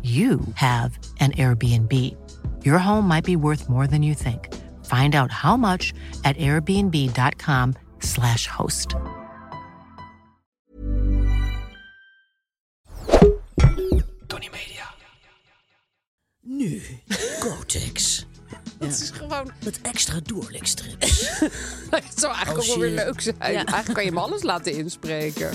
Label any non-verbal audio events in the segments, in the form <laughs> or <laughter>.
you have an Airbnb. Your home might be worth more than you think. Find out how much at airbnb.com/slash host. Tony Media. Nu, Gotex. Dat is gewoon. Met extra doorlikstrips. <laughs> Het zou eigenlijk Oh, Als ook wel je- weer leuk zijn. Eigenlijk kan je hem alles laten inspreken.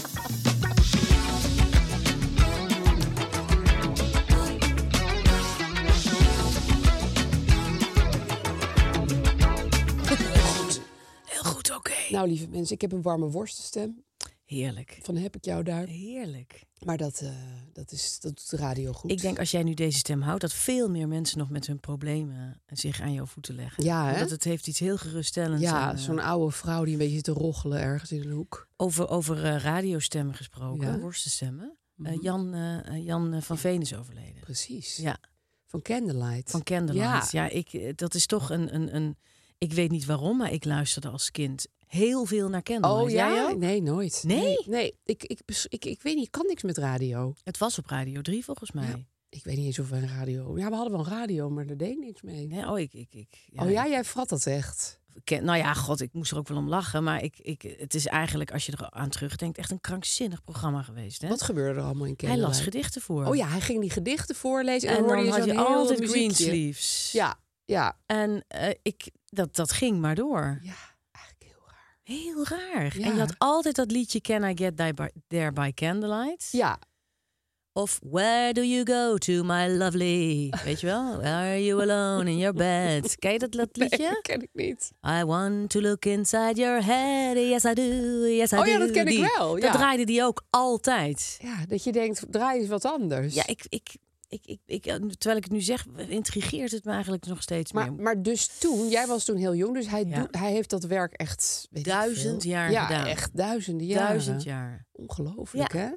Heel goed, oké. Nou, lieve mensen, ik heb een warme worstenstem. Heerlijk. Van heb ik jou daar. Heerlijk. Maar dat, eh, dat, is, dat doet de radio goed. Ik denk als jij nu deze stem houdt, dat veel meer mensen nog met hun problemen zich aan jouw voeten leggen. Ja, hè? Want het heeft iets heel geruststellends. en, Ja, eh, zo'n oude vrouw die een beetje zit te rochelen ergens in een hoek. over over eh, radiostemmen gesproken, Ja. Mhm. worstenstemmen. Eh, Jan, eh, eh, Jan eh, van Veen is overleden. Precies. Ja, Van Candlelight. Oh, van Candlelight. Ja, ik, eh, dat is toch een, een, een... Ik weet niet waarom, maar ik luisterde als kind heel veel naar Candlelight. Oh ja? Jij ook? Nee, nooit. Nee? Nee, nee. Ik, ik, bes- ik, ik weet niet, ik kan niks met radio. Het was op Radio 3 volgens mij. Ik weet niet eens of we een radio... Ja, we hadden wel een radio, maar daar deed ik niks mee. Nee, oh, ik... ik, ik oh ja, jij vrat dat echt. Ken- nou ja, god, ik moest er ook wel om lachen. Maar ik, ik, het is eigenlijk, als je er aan terugdenkt, echt een krankzinnig programma geweest. Hè? Wat gebeurde er allemaal in Hij Candlelight? las gedichten voor. Oh ja, hij ging die gedichten voorlezen en, en hoorde dan je had zo'n je heel altijd muziekje. Greensleeves. Ja, ja. En eh, ik, dat, dat ging maar door. Ja, eigenlijk heel raar. Heel raar. Ja. En je had altijd dat liedje Can I Get Thy By- There By Candlelight? Ja, Of Where Do You Go To My Lovely? Weet je wel? Are You Alone In Your Bed? Ken je dat, dat liedje? dat <laughs> ken ik niet. I want to look inside your head. Yes, I do. Yes, I Oh do. ja, dat ken ik Die- wel, ja. Dat draaide die ook altijd. Ja, dat je denkt, draai eens wat anders. Ja, ik, ik, ik, ik, ik, eh, terwijl ik het nu zeg, intrigeert het me eigenlijk nog steeds maar, meer. maar dus toen, jij was toen heel jong, dus hij, Ja. doet- hij heeft dat werk echt... weet ik Duizend veel. jaar ja, gedaan. echt duizenden jaren. Duizend jaar. Ongelooflijk, hè?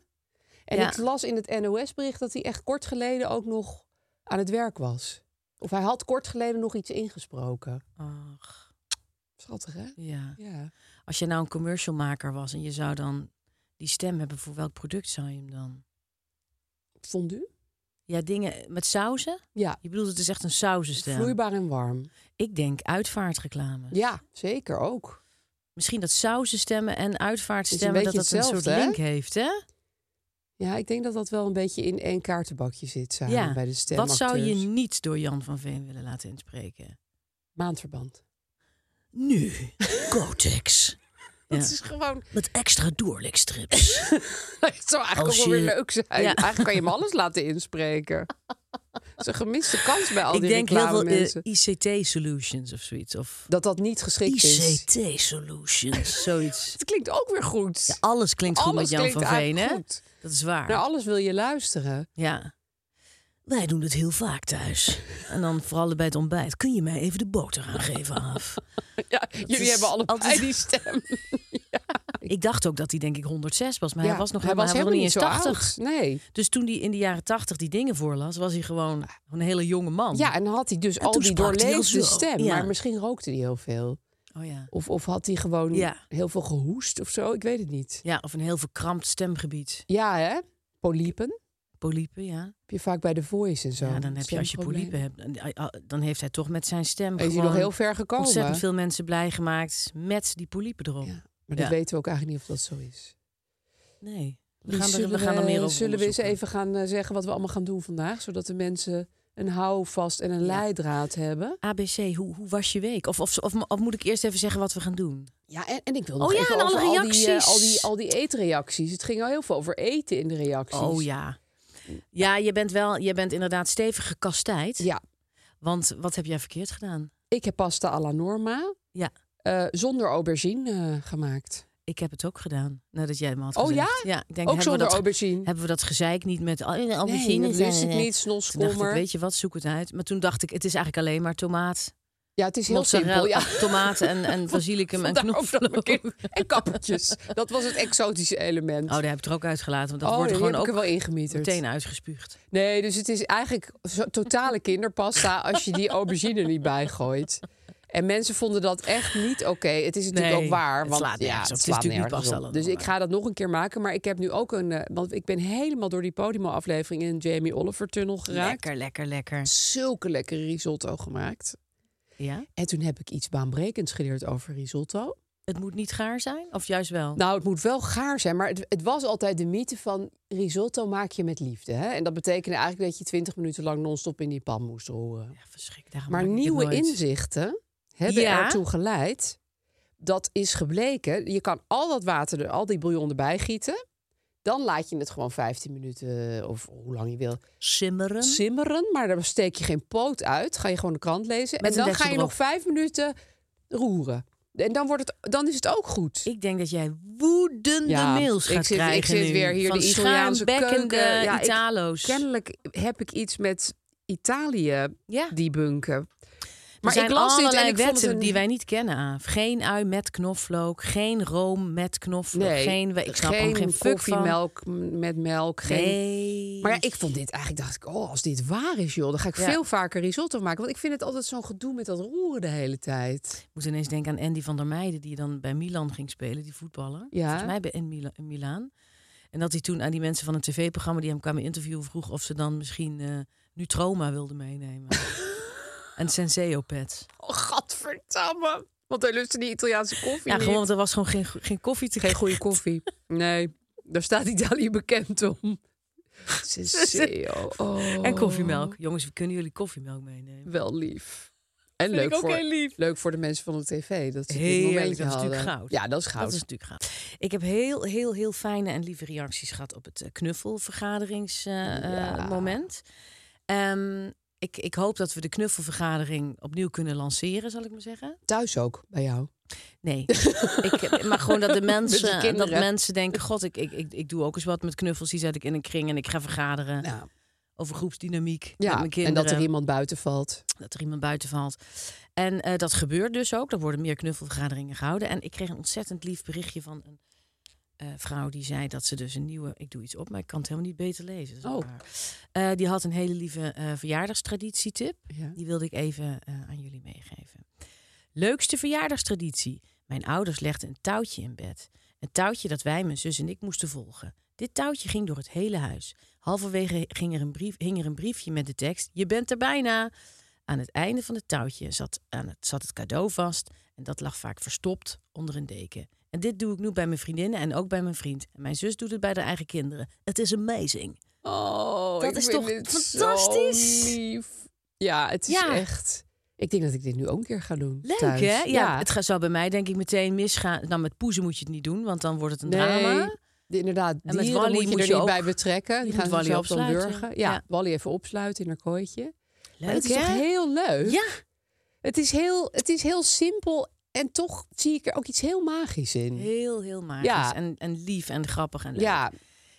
En Ja. ik las in het NOS-bericht dat hij echt kort geleden ook nog aan het werk was. Of hij had kort geleden nog iets ingesproken. Ach, Schattig, hè? ja. Ja. Als je nou een commercialmaker was en je zou dan die stem hebben voor welk product zou je hem dan? Fondue? Ja, dingen met sauzen? Ja. Je bedoelt, het is echt een sauzenstem. Vloeibaar en warm. Ik denk uitvaartreclames. Ja, zeker ook. Misschien dat sauzenstemmen en Is uitvaartstemmen een dat beetje dat een soort hetzelfde, link heeft, hè? Ja, ik denk dat dat wel een beetje in één kaartenbakje zit samen bij de stem. Wat zou je niet door Jan van Veen willen laten inspreken? maandverband? <laughs> Nu, Gotex. Dat is gewoon. <laughs> Met extra <laughs> doorlikstrips. Het zou eigenlijk Als ook wel weer je- leuk zijn. Ja. Eigenlijk kan je hem alles laten <laughs> inspreken. Dat is een gemiste kans bij al Ik die denk heel veel eh, reclamemensen. ICT solutions of zoiets. Of dat dat niet geschikt is. ICT Solutions. <laughs> zoiets. Het klinkt ook weer goed. Ja, alles klinkt goed Alles met Jan klinkt van Veen, hè? eigenlijk goed. Nou, Dat is waar. Naar alles wil je luisteren. ja. Wij doen het heel vaak thuis. En dan vooral bij het ontbijt. Kun je mij even de boter aangeven, <laughs> af? Ja, jullie is hebben allebei altijd- die stem. Ik dacht ook dat hij denk ik 106 was, maar hij was nog hij helemaal, was helemaal niet niet zo eens 80. oud. Nee. Dus toen hij in de jaren 80 die dingen voorlas, was hij gewoon een hele jonge man. Ja, en dan had hij dus En al toen die sprak hij al doorleefde zo. stem. Ja. Maar misschien rookte hij heel veel. Oh ja. Of, of had hij gewoon Ja. heel veel gehoest of zo? Ik weet het niet. Ja, of een heel verkrampt stemgebied. Ja, hè? Polypen Polypen, ja. heb je vaak bij de voice en zo. ja, dan heb je als je Stemproblemen. polypen hebt, dan- dan heeft hij toch met zijn stem Is hij gewoon nog heel ver gekomen? ontzettend veel mensen blij gemaakt met die polypen erop. Ja, maar dat Ja. weten we ook eigenlijk niet of dat zo is. Nee. We gaan, er, zullen we gaan er meer over Zullen we eens onderzoeken. even gaan eh, zeggen wat we allemaal gaan doen vandaag? Zodat de mensen een houvast en een leidraad hebben. ABC, hoe, hoe was je week? Of, of, of, of moet ik eerst even zeggen wat we gaan doen? Ja, en, en ik wil Oh nog ja, even en alle over al die, eh, al, die, reacties. al die eetreacties. Het ging al heel veel over eten in de reacties. Oh ja. Ja, je bent wel, je bent inderdaad stevig gekastijd. Ja, Want wat heb jij verkeerd gedaan? ik heb pasta alla norma Ja. eh, zonder aubergine eh, gemaakt. Ik heb het ook gedaan, nadat jij me had Oh, gezegd. ja? Ja, ik denk, Ook hebben, we zonder dat, aubergine. hebben we dat gezeik niet met al die nee, aubergines dat wist en- ik en- niet, Toen dacht ik, snoskomer. weet je wat, zoek het uit. Maar toen dacht ik, het is eigenlijk alleen maar tomaat, Ja, het is heel simpel. mozzarella, Ja. <laughs> tomaten en, <laughs> en basilicum en Vandaar ook dat knoflook. mijn kind- <laughs> En kappertjes. Dat was het exotische element. Oh, daar heb ik er ook uitgelaten, want dat Oh, wordt ja, die gewoon heb ik er ook wel ingemieterd. meteen uitgespuugd. Nee, dus het is eigenlijk zo, totale kinderpasta <laughs> als je die aubergine er niet bij gooit. En mensen vonden dat echt niet oké. Het is natuurlijk Nee, ook waar. het Want slaat ja, nergens op. het Het is slaat natuurlijk niet nergens pasta op. allemaal. Dus ik ga dat nog een keer maken. Maar ik heb nu ook een. eh, want ik ben helemaal door die Podimo-aflevering in een Jamie Oliver-tunnel geraakt. Lekker, lekker, lekker. Zulke lekkere risotto gemaakt. Ja? En toen heb ik iets baanbrekends geleerd over risotto. Het moet niet gaar zijn, of juist wel? Nou, het moet wel gaar zijn, maar het, het was altijd de mythe van risotto maak je met liefde. Hè? En dat betekende eigenlijk dat je twintig minuten lang non-stop in die pan moest roeren. ja, verschrik, daarom Maar maak ik dit nieuwe nooit. inzichten hebben Ja. ertoe geleid. Dat is gebleken. Je kan al dat water, er- al die bouillon erbij gieten. Dan laat je het gewoon 15 minuten eh, of hoe lang je wil Simmeren. simmeren. Maar daar steek je geen poot uit. Ga je gewoon de krant lezen. Met een en dan deksel ga je erop. nog vijf minuten roeren. En dan, wordt het, dan is het ook goed. Ik denk dat jij woedende mails gaat ik zit, krijgen Ik zit nu. weer hier van de Italiaanse schuimbekkende keuken. Ja, ik- Italo's. kennelijk heb ik iets met Italië ja. die bunken. Maar Maar zijn ik las dit allerlei en ik vond wetten het een... die wij niet kennen. Aaf. Geen ui met knoflook, geen room met knoflook, Nee, geen we- ik snap geen hem geen fuck van. koffiemelk m- met melk. Geen... Nee. Maar ja, ik vond dit eigenlijk, dacht ik, oh, als dit waar is, joh, dan ga ik Ja. veel vaker risotto maken. Want ik vind het altijd zo'n gedoe met dat roeren de hele tijd. Ik moet ineens denken aan Andy van der Meijden, die dan bij Milan ging spelen, die voetballer. Ja. Volgens mij bij in Mila- in Milaan. En dat hij toen aan die mensen van het tv-programma die hem kwamen interviewen vroeg of ze dan misschien eh Nutroma wilden <laughs> meenemen. en Senseo-pet. Oh, gadverdamme. Want hij lustte die Italiaanse koffie Ja, niet. gewoon, want er was gewoon geen, geen koffie te Geen goede koffie. Nee, daar staat Italië bekend om. <laughs> Senseo. Oh. En koffiemelk. Jongens, we kunnen jullie koffiemelk meenemen. Wel lief. En Vind leuk, ik ook voor, heel lief. leuk voor de mensen van de tv. Dat ze dit Heerlijk, momentje dat is hadden. natuurlijk goud. Ja, dat is goud. Dat is natuurlijk gaaf. Ik heb heel, heel, heel fijne en lieve reacties gehad op het eh, knuffelvergaderingsmoment. Ja. moment. Ehm, ik, ik hoop dat we de knuffelvergadering opnieuw kunnen lanceren, zal ik maar zeggen. Thuis ook, bij jou. <laughs> Nee, ik, maar gewoon dat de Met mensen, die dat kinderen. mensen denken: God, ik, ik, ik, ik doe ook eens wat met knuffels. Die zet ik in een kring en ik ga vergaderen Ja, over groepsdynamiek met ja. mijn en kinderen. dat er iemand buiten valt. dat er iemand buiten valt. En eh, dat gebeurt dus ook. Er worden meer knuffelvergaderingen gehouden. En ik kreeg een ontzettend lief berichtje van een eh, vrouw die zei dat ze dus een nieuwe... Ik doe iets op, maar ik kan het helemaal niet beter lezen. Dat is Oh. raar. Eh, die had een hele lieve eh verjaardagstraditietip. Ja. Die wilde ik even eh, aan jullie meegeven. Leukste verjaardagstraditie. Mijn ouders legden een touwtje in bed. Een touwtje dat wij, mijn zus en ik, moesten volgen. Dit touwtje ging door het hele huis. Halverwege ging er een brief, hing er een briefje met de tekst: Je bent er bijna. Aan het einde van het touwtje zat, aan het, zat het cadeau vast. En dat lag vaak verstopt onder een deken. En dit doe ik nu bij mijn vriendinnen en ook bij mijn vriend. En mijn zus doet het bij haar eigen kinderen. Het is amazing. Oh, Dat ik is vind toch dit zo fantastisch? lief. Ja, het is Ja. echt... Ik denk dat ik dit nu ook een keer ga doen. Leuk thuis. hè? Ja, het gaat zo bij mij denk ik meteen misgaan. Nou, met poezen moet je het niet doen, want dan wordt het een Nee, drama. de- inderdaad, met dieren Wally moet je moet er je niet ook- bij betrekken. je Die moet gaan Wally zichzelf dan opsluiten. wurgen. Ja, Ja. Wally even opsluiten in haar kooitje. Maar Leuk het is toch hè? heel leuk? Ja, Het is, heel, het is heel simpel en toch zie ik er ook iets heel magisch in. heel heel magisch Ja. en, en lief en grappig en leuk. ja,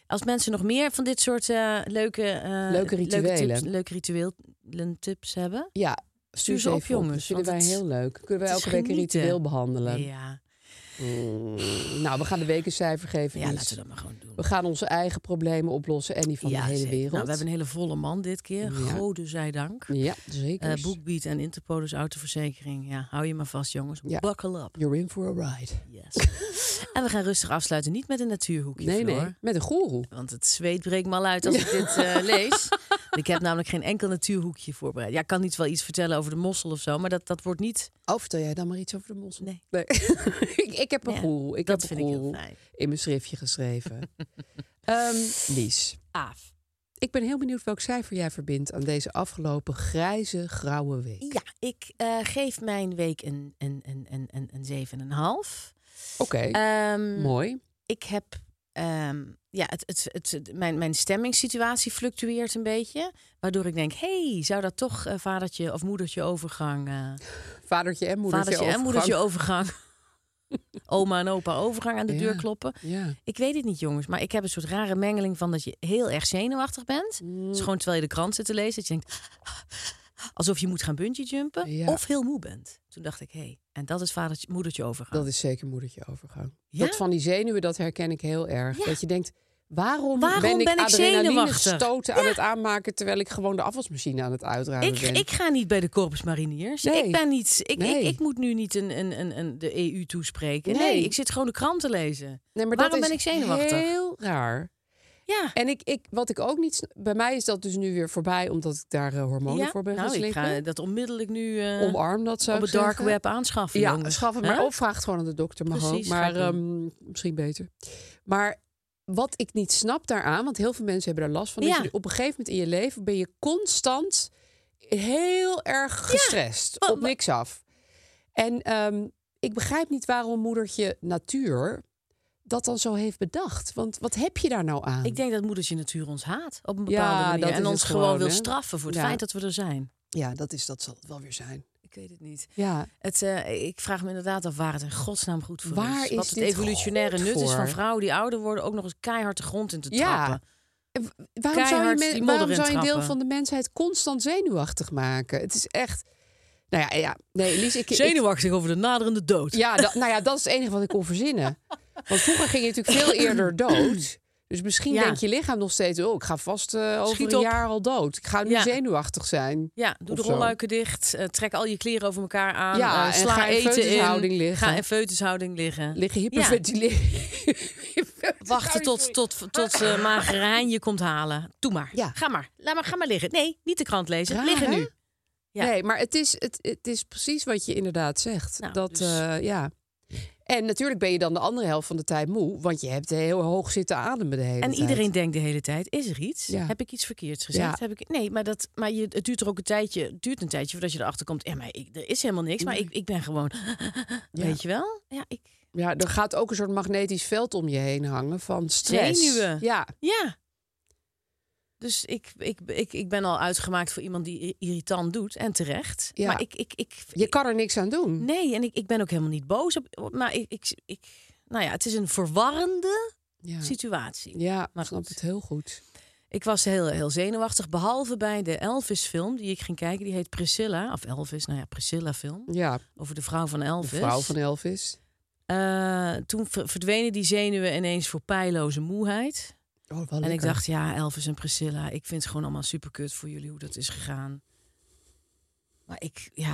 Als mensen nog meer van dit soort eh, leuke, eh, rituelen. leuke, tips, leuke rituelen tips hebben. ja, Stuur ze even op, jongens, Dat vinden wij want het- heel leuk. Kunnen wij het is elke week een genieten. ritueel behandelen. Ja, Mm, nou, we gaan de week een cijfer geven. ja Lies. laten we dat maar gewoon doen. We gaan onze eigen problemen oplossen en die van Ja, de hele zeker. wereld. Nou, we hebben een hele volle man dit keer. Ja. Gode zij dank. Ja, zeker. Eh Boekbeat en Interpolis autoverzekering. Ja, hou je maar vast jongens. Ja. Buckle up. You're in for a ride. Yes. <laughs> en we gaan rustig afsluiten. Niet met een natuurhoekje, Nee, Floor. nee, met een goeroe. Want het zweet breekt me al uit als ik dit eh, lees. <laughs> Ik heb namelijk geen enkel natuurhoekje voorbereid. Ja, ik kan niet wel iets vertellen over de mossel of zo, maar dat, dat wordt niet. Oh, vertel jij dan maar iets over de mossel. Nee. <laughs> ik, ik heb een Ja, goeroe. Ik dat heb vind een ik heel goeroe fijn. <laughs> in mijn schriftje geschreven. Ehm, Lies, Aaf. ik ben heel benieuwd welk cijfer jij verbindt aan deze afgelopen grijze, grauwe week. Ja, ik eh, geef mijn week een, een, een, een, een, een 7,5. Oké, Ehm, mooi. ik heb. ehm, ja, het, het, het, het- mijn, mijn stemmingssituatie fluctueert een beetje. Waardoor ik denk, hey, zou dat toch eh, vadertje of moedertje overgang... eh, Vadertje en moedertje vadertje en overgang. moedertje overgang. <laughs> Oma en opa overgang aan de Ja. deur kloppen. <laughs> Ja. Ik weet het niet, jongens, maar ik heb een soort rare mengeling van dat je heel erg zenuwachtig bent. Mm. Dus gewoon terwijl je de krant zit te lezen, dat je denkt alsof je moet gaan bungee jumpen Ja. of heel moe bent. Toen dacht ik, hé, hey, en dat is vadertje, moedertje overgang. Dat is zeker moedertje overgang. Ja? Dat van die zenuwen, dat herken ik heel erg. Ja. Dat je denkt, waarom, Waarom ben ik ben ik adrenaline zenuwachtig? stoten aan het aanmaken... terwijl ik gewoon de afwasmachine aan het uitruimen Ik, ben? ik ga niet bij de Corpus Mariniers. Nee. Ik, ben niet, ik, Nee. ik, ik moet nu niet een, een, een, een, de EU toespreken. Nee. Nee. ik zit gewoon de krant te lezen. nee, maar waarom dat ben is ik zenuwachtig? heel raar. Ja. En ik, ik, wat ik ook niet... sna- Bij mij is dat dus nu weer voorbij, omdat ik daar eh, hormonen ja? voor ben nou, gaan ik ga slikken. dat onmiddellijk nu eh, Omarm dat, zou op ik het dark zeggen. web aanschaffen. Ja, jongens. schaf het maar Hè? op. Vraag het gewoon aan de dokter. Mag Precies, ook, ga ik maar doen. ehm, misschien beter. Maar wat ik niet snap daaraan, want heel veel mensen hebben daar last van. Ja. Is je op een gegeven moment in je leven ben je constant heel erg gestrest. wa- op wa- niks af. En ehm, ik begrijp niet waarom moedertje natuur dat dan zo heeft bedacht. Want wat heb je daar nou aan? Ik denk dat moedertje natuur ons haat op een bepaalde Ja, manier. dat is en ons het gewoon, gewoon, wil hè? straffen voor het Ja. feit dat we er zijn. Ja, dat, is, dat zal het wel weer zijn. Ik weet het niet. Ja, Het, eh, ik vraag me inderdaad af waar het in godsnaam goed voor Waar is. is Wat het dit evolutionaire goed nut is voor? van vrouwen die ouder worden... ook nog eens keihard de grond in te Ja. trappen. Waarom zou, je Keihard men- die modder waarom zou je een deel intrappen. van de mensheid constant zenuwachtig maken? Het is echt. Nou ja, ja. nee, Lies, ik. ik- Zenuwachtig over de naderende dood. ja, dat, nou ja, dat is het enige wat ik kon verzinnen. Want vroeger ging je natuurlijk veel eerder dood. Dus misschien Ja. denkt je lichaam nog steeds: oh, ik ga vast eh, over Schiet een op. jaar al dood. Ik ga nu Ja. zenuwachtig zijn. Ja, doe Of de zo. rolluiken dicht. eh, trek al je kleren over elkaar aan. Ja, eh, en sla ga in eten foetushouding in. liggen. Ga in feutushouding liggen. Liggen <laughs> hyperventileren. Wachten tot, tot, tot eh magere hein je komt halen. Doe maar. Ja. Ga maar. Laat maar. Ga maar liggen. Nee, niet de krant lezen. Raar, liggen hè? nu. Ja. Nee, maar het is, het, het is precies wat je inderdaad zegt. Nou, dat, dus- eh, ja. En natuurlijk ben je dan de andere helft van de tijd moe, want je hebt heel hoog zitten ademen de hele En tijd. iedereen denkt de hele tijd, is er iets? Ja. Heb ik iets verkeerds gezegd? Ja. Heb ik... Nee, maar, dat, maar je, het duurt er ook een tijdje, het duurt een tijdje voordat je erachter komt. Ja, maar ik, er is helemaal niks, maar ik, ik ben gewoon... Weet je wel? Ja, ik... Ja, er gaat ook een soort magnetisch veld om je heen hangen van stress. Zenuwen. Ja, Ja. Dus ik, ik, ik, ik ben al uitgemaakt voor iemand die ir- irritant doet. En terecht. Ja. Maar ik... ik, ik je kan er niks aan doen. Nee, en ik, ik ben ook helemaal niet boos. Op, op- maar ik, ik, ik... Nou ja, het is een verwarrende Ja, situatie. ja Maar snap goed. het heel goed. Ik was heel, heel zenuwachtig, behalve bij de Elvis-film die ik ging kijken. Die heet Priscilla, of Elvis, nou ja, Priscilla-film. Ja, Over de vrouw van de Elvis. vrouw van Elvis. Eh, toen ver- verdwenen die zenuwen ineens voor pijloze moeheid. Oh, wel En ik lekker. dacht, ja, Elvis en Priscilla, ik vind het gewoon allemaal superkut voor jullie hoe dat is gegaan. Maar ik, ja,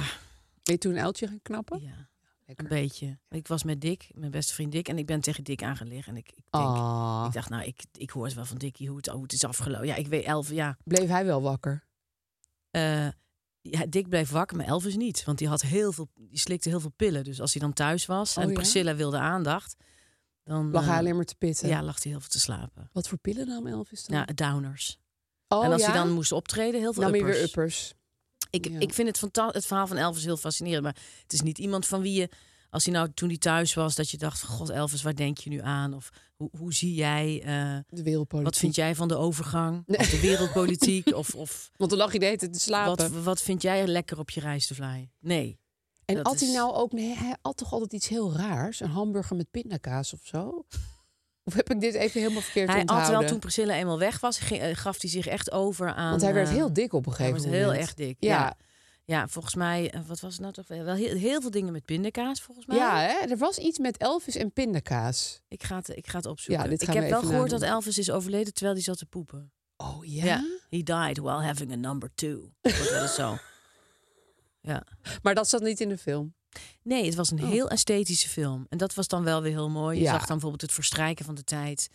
Ben je toen een uiltje gaan knappen? ja Lekker. een beetje. Ik was met Dick, mijn beste vriend Dick, en ik ben tegen Dick aan gaan liggen. En ik, ik denk, Ah, ik dacht, nou, ik, ik hoor het wel van Dickie hoe het, hoe het is afgelopen. Ja, ik weet, Elvis, ja. bleef hij wel wakker? eh ja, Dick bleef wakker, maar Elvis niet. Want die, had heel veel, die slikte heel veel pillen. Dus als hij dan thuis was Oh, en ja? Priscilla wilde aandacht... Dan, Lag eh, hij alleen maar te pitten? Ja, lag hij heel veel te slapen. Wat voor pillen nam Elvis dan? Ja, downers. oh, en als ja? hij dan moest optreden, heel veel nam hij uppers. weer uppers. Ik, Ja. ik vind het, fanta- het verhaal van Elvis heel fascinerend. Maar het is niet iemand van wie je... Als hij nou toen hij thuis was, dat je dacht... van, God, Elvis, waar denk je nu aan? Of hoe, hoe zie jij... eh, De wereldpolitiek. wat vind jij van de overgang? Nee. Of de <laughs> wereldpolitiek? of of Want dan lag hij de hele tijd te slapen. wat, wat vind jij lekker op je reis te vliegen? Nee. en dat at hij is- nou ook... Nee, hij at toch altijd iets heel raars? Een hamburger met pindakaas of zo? <laughs> Of heb ik dit even helemaal verkeerd Hij had onthouden? wel toen Priscilla eenmaal weg was, ging- eh, gaf hij zich echt over aan. Want hij werd eh, heel dik op een hij gegeven werd moment. heel erg dik. Ja. Ja, ja. volgens mij, eh, wat was het nou toch? Wel heel, heel veel dingen met pindakaas, volgens mij. ja hè? er was iets met Elvis en pindakaas. Ik ga het, ik ga het opzoeken. Ja, dit ik gaan heb we wel even gehoord dat nadoen. Elvis is overleden terwijl hij zat te poepen. Oh ja? He died while having a number two. Wordt wel eens <laughs> zo. Ja. Maar dat zat niet in de film. Nee, het was een heel esthetische film. En dat was dan wel weer heel mooi. Je Oh. Ja. zag dan bijvoorbeeld het verstrijken van de tijd.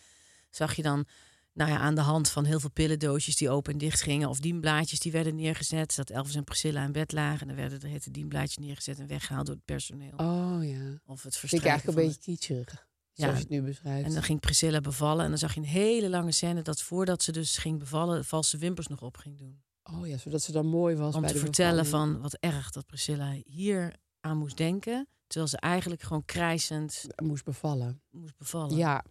Zag je dan nou ja, aan de hand van heel veel pillendoosjes die open en dicht gingen. Of dienblaadjes die werden neergezet. Dat Elvis en Priscilla in bed lagen. En dan werden de hete dienblaadjes neergezet en weggehaald door het personeel. Oh ja. Of het Vind ik verstrijken eigenlijk van een beetje kitscherig. zoals Ja. je het nu beschrijft. En dan ging Priscilla bevallen. En dan zag je een hele lange scène dat voordat ze dus ging bevallen, valse wimpers nog op ging doen. Oh ja, zodat ze dan mooi was Om bij te de vertellen bevalling. van wat erg dat Priscilla hier aan moest denken. Terwijl ze eigenlijk gewoon krijsend Moest bevallen. moest bevallen. Ja,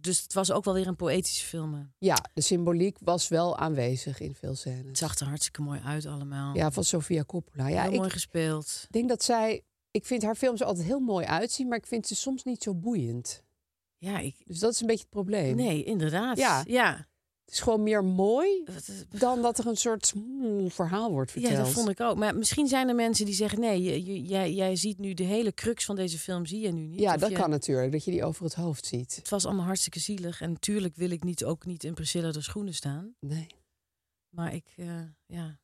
Dus het was ook wel weer een poëtische film. ja, de symboliek was wel aanwezig in veel Het scènes. zag er hartstikke mooi uit allemaal. Ja, van Sofia Coppola. Ja, Heel ik mooi gespeeld. denk dat zij... Ik vind haar films er altijd heel mooi uitzien, maar ik vind ze soms niet zo boeiend. Ja, ik... Dus dat is een beetje het probleem. Nee, inderdaad. Ja. ja. Het is gewoon meer mooi Wat- dan dat er een soort mm, verhaal wordt verteld. Ja, dat vond ik ook. Maar misschien zijn er mensen die zeggen: nee, je- je- jij, jij ziet nu de hele crux van deze film, zie je nu niet. Ja, Of dat je- kan natuurlijk, dat je die over het hoofd ziet. Het was allemaal hartstikke zielig. En natuurlijk wil ik niet, ook niet in Priscilla de schoenen staan. Nee, Maar ik, eh, ja.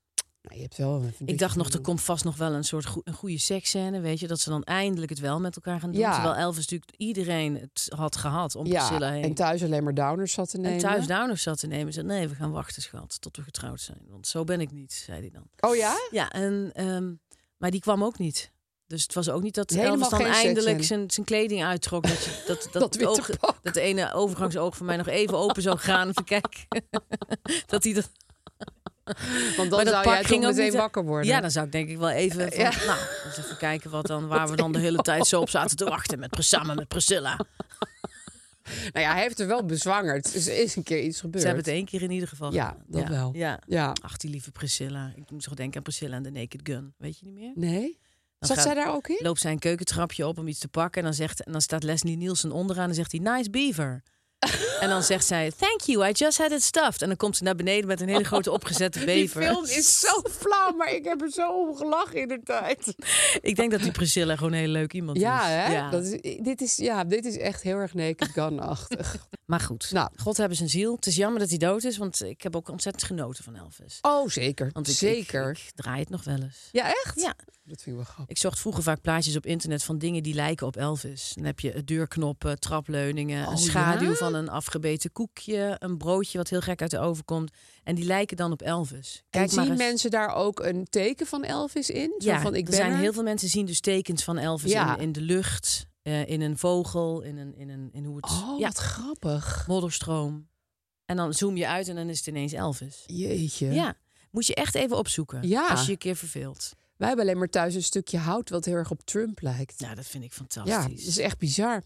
Nou, je hebt wel een ik dacht nog, er komt vast nog wel een soort goe- een goede seksscène. Weet je, dat ze dan eindelijk het wel met elkaar gaan doen. Ja. Terwijl Elvis natuurlijk iedereen het had gehad om Priscilla Ja, heen. en thuis alleen maar downers zat te nemen. En thuis downers zat te nemen. Ze zei, nee, we gaan wachten, schat, tot we getrouwd zijn. Want zo ben ik niet, zei hij dan. Oh ja? Ja, en, ehm, maar die kwam ook niet. Dus het was ook niet dat Helemaal Elvis dan geen seksen. eindelijk zijn, zijn kleding uittrok. Dat, je, <laughs> dat, dat, Dat het witte oog- pak. dat ene overgangsoog van mij nog even open zou gaan. Even kijken. <laughs> dat hij dat, Want maar dan dat zou pak jij ging toch ook meteen niet- wakker worden. Eh, Ja, dan zou ik denk ik wel even, van, Ja. nou, eens even kijken wat <laughs> dan, waar we dan de hele tijd zo op zaten te wachten. Met, Pris- samen met Priscilla. Nou ja, hij heeft er wel bezwangerd. Dus er is een keer iets gebeurd. Ze hebben het één keer in ieder geval Ja, gedaan. dat wel. Ja. Ja. Ach, die lieve Priscilla. Ik moet toch denken aan Priscilla en de Naked Gun. Weet je niet meer? Nee? Dan Zat gaat- zij daar ook in? loopt zijn keukentrapje op om iets te pakken. En dan, zegt, en dan staat Leslie Nielsen onderaan en zegt hij, nice <laughs> beaver. en dan zegt zij, thank you, I just had it stuffed. En dan komt ze naar beneden met een hele grote opgezette <laughs> Die bever. film is zo flauw, maar ik heb er zo om gelachen in de tijd. <laughs> Ik denk dat die Priscilla gewoon een heel leuk iemand Ja, is. hè? Dat is, dit is, ja, dit is echt heel erg naked <laughs> gun-achtig. Maar goed, Nou. God hebben zijn ziel. Het is jammer dat hij dood is, want ik heb ook ontzettend genoten van Elvis. Oh, zeker. Want ik, zeker. Ik, ik draai het nog wel eens. Ja, echt? Ja. Dat vind ik wel grappig. Ik zocht vroeger vaak plaatjes op internet van dingen die lijken op Elvis. Dan heb je deurknoppen, trapleuningen, Oh, een schaduw ja? van een afgebeten koekje, een broodje wat heel gek uit de oven komt. En die lijken dan op Elvis. Kijk, maar zien eens. mensen daar ook een teken van Elvis in? Zo ja, van, ik er ben zijn heel veel mensen zien dus tekens van Elvis Ja. in, in de lucht, eh, in een vogel, in, een, in, een, in hoe het... Oh, ja, wat grappig. modderstroom. En dan zoom je uit en dan is het ineens Elvis. Jeetje. Ja, moet je echt even opzoeken Ja. als je je een keer verveelt. Wij hebben alleen maar thuis een stukje hout wat heel erg op Trump lijkt. Nou, dat vind ik ja, fantastisch. dat is echt bizar.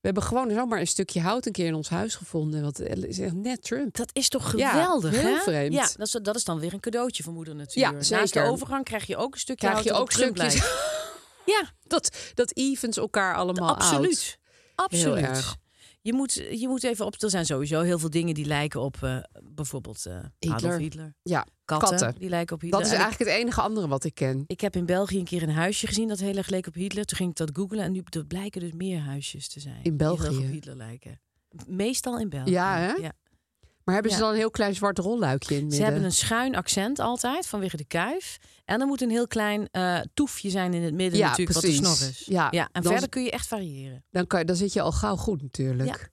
We hebben gewoon zomaar een stukje hout een keer in ons huis gevonden. Want het is echt net Trump. Dat is toch Ja, geweldig, heel hè? vreemd. Ja, dat is, dat is dan weer een cadeautje voor moeder natuurlijk. Ja, Naast de zeker. overgang krijg je ook een stukje Krijg je hout ook dat op Trump stukjes. lijkt. Ja, Dat, dat evens elkaar allemaal out. absoluut. Absoluut. <laughs> Heel erg. Je moet, je moet even op... Er zijn sowieso heel veel dingen die lijken op eh, bijvoorbeeld eh Adolf Hitler. Hitler. Ja, Katten, Katten. die lijken op Hitler. dat is En ik- eigenlijk het enige andere wat ik ken. Ik heb in België een keer een huisje gezien dat heel erg leek op Hitler. Toen ging ik dat googlen en nu dat blijken dus meer huisjes te zijn. die heel erg België? op Hitler lijken. Meestal in België. Ja, hè? Maar hebben ze Ja. dan een heel klein zwart rolluikje in het Ze midden? hebben een schuin accent altijd vanwege de kuif. En er moet een heel klein eh, toefje zijn in het midden Ja, natuurlijk, wat de precies. snor is. Ja, en dan- verder kun je echt variëren. dan, kan, je- dan zit je al gauw goed natuurlijk.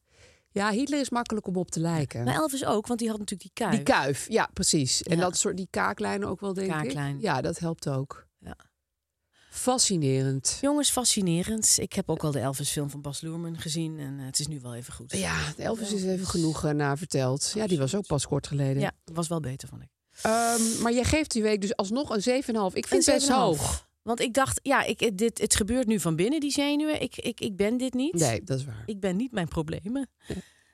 Ja. Hitler is makkelijk om op te lijken. Maar Elvis ook, want die had natuurlijk die kuif. Die kuif, ja, precies. En Ja. dat soort die kaaklijnen ook wel, denk Kaaklijn. ik. Ja, dat helpt ook. Ja. Fascinerend. Jongens, fascinerend. Ik heb ook al de Elvis film van Bas Loerman gezien. En eh, het is nu wel even goed. Ja, Elvis is even genoeg eh, na verteld. Ja, die was ook pas kort geleden. Ja, was wel beter, vond ik. Ehm, maar jij geeft die week dus alsnog een 7,5. Ik vind Een het best 7,5. hoog. Want ik dacht, ja, ik, het- dit, het gebeurt nu van binnen, die zenuwen. Ik, ik, ik ben dit niet. Nee, dat is waar. Ik ben niet mijn problemen.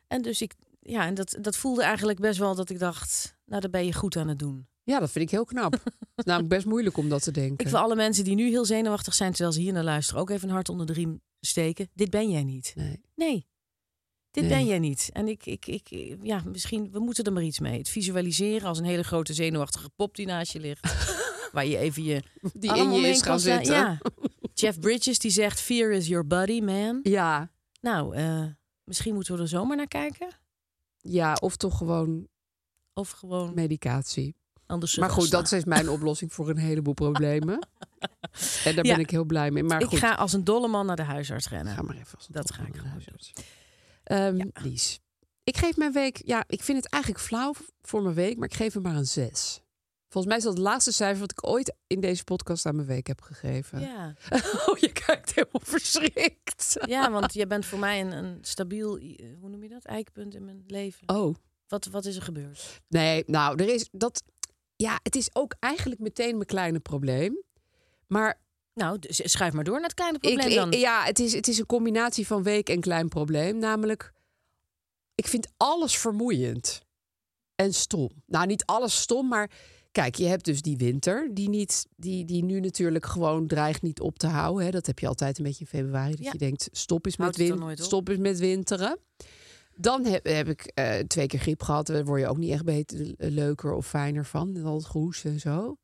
En dus ik, ja, en dat, dat voelde eigenlijk best wel dat ik dacht, nou, daar ben je goed aan het doen. Ja, dat vind ik heel knap. het is namelijk best moeilijk om dat te denken. <laughs> Ik wil alle mensen die nu heel zenuwachtig zijn terwijl ze hier naar luisteren, ook even een hart onder de riem steken. Dit ben jij niet. Nee. Nee. Dit Nee. ben jij niet. En ik, ik, ik, ja, misschien, we moeten er maar iets mee. Het visualiseren als een hele grote zenuwachtige pop die naast je <laughs> ligt. waar je even je Die arm in je omheen is kan gaan slaan. zitten. Ja. Jeff Bridges die zegt, fear is your body, man. ja. Nou, eh, misschien moeten we er zomaar naar kijken. Ja, of toch gewoon Of gewoon medicatie. anders. Maar goed, slaan. dat is mijn oplossing voor een heleboel problemen. <laughs> En daar Ja. ben ik heel blij mee. Maar goed, Ik ga als een dolle man naar de huisarts rennen. ga maar even. Als een Dat top ga ik van gewoon de huisarts. Ehm, Lies, ik geef mijn week... Ja, ik vind het eigenlijk flauw voor mijn week, maar ik geef hem maar een 6. Volgens mij is dat het laatste cijfer wat ik ooit in deze podcast aan mijn week heb gegeven. Ja. <laughs> Oh, je kijkt helemaal verschrikt. ja, want jij bent voor mij een, een stabiel, i- eh, hoe noem je dat, eikpunt in mijn leven. Oh, Wat, wat is er gebeurd? nee, nou, er is dat. Ja, het is ook eigenlijk meteen mijn kleine probleem. Maar Nou, dus schuif maar door naar het kleine ik, probleem dan. ik- ja, het is, het is een combinatie van week en klein probleem. Namelijk, ik vind alles vermoeiend en stom. Nou, niet alles stom, maar kijk, je hebt dus die winter, die, niet, die, die nu natuurlijk gewoon dreigt niet op te houden. Hè. Dat heb je altijd een beetje in februari, dat Ja. je denkt, stop is met, Houdt het dan win nooit op? stop is met winteren. Dan heb, heb ik eh, twee keer griep gehad. Daar word je ook niet echt beter, eh, leuker of fijner van. Met al het gehoest en zo.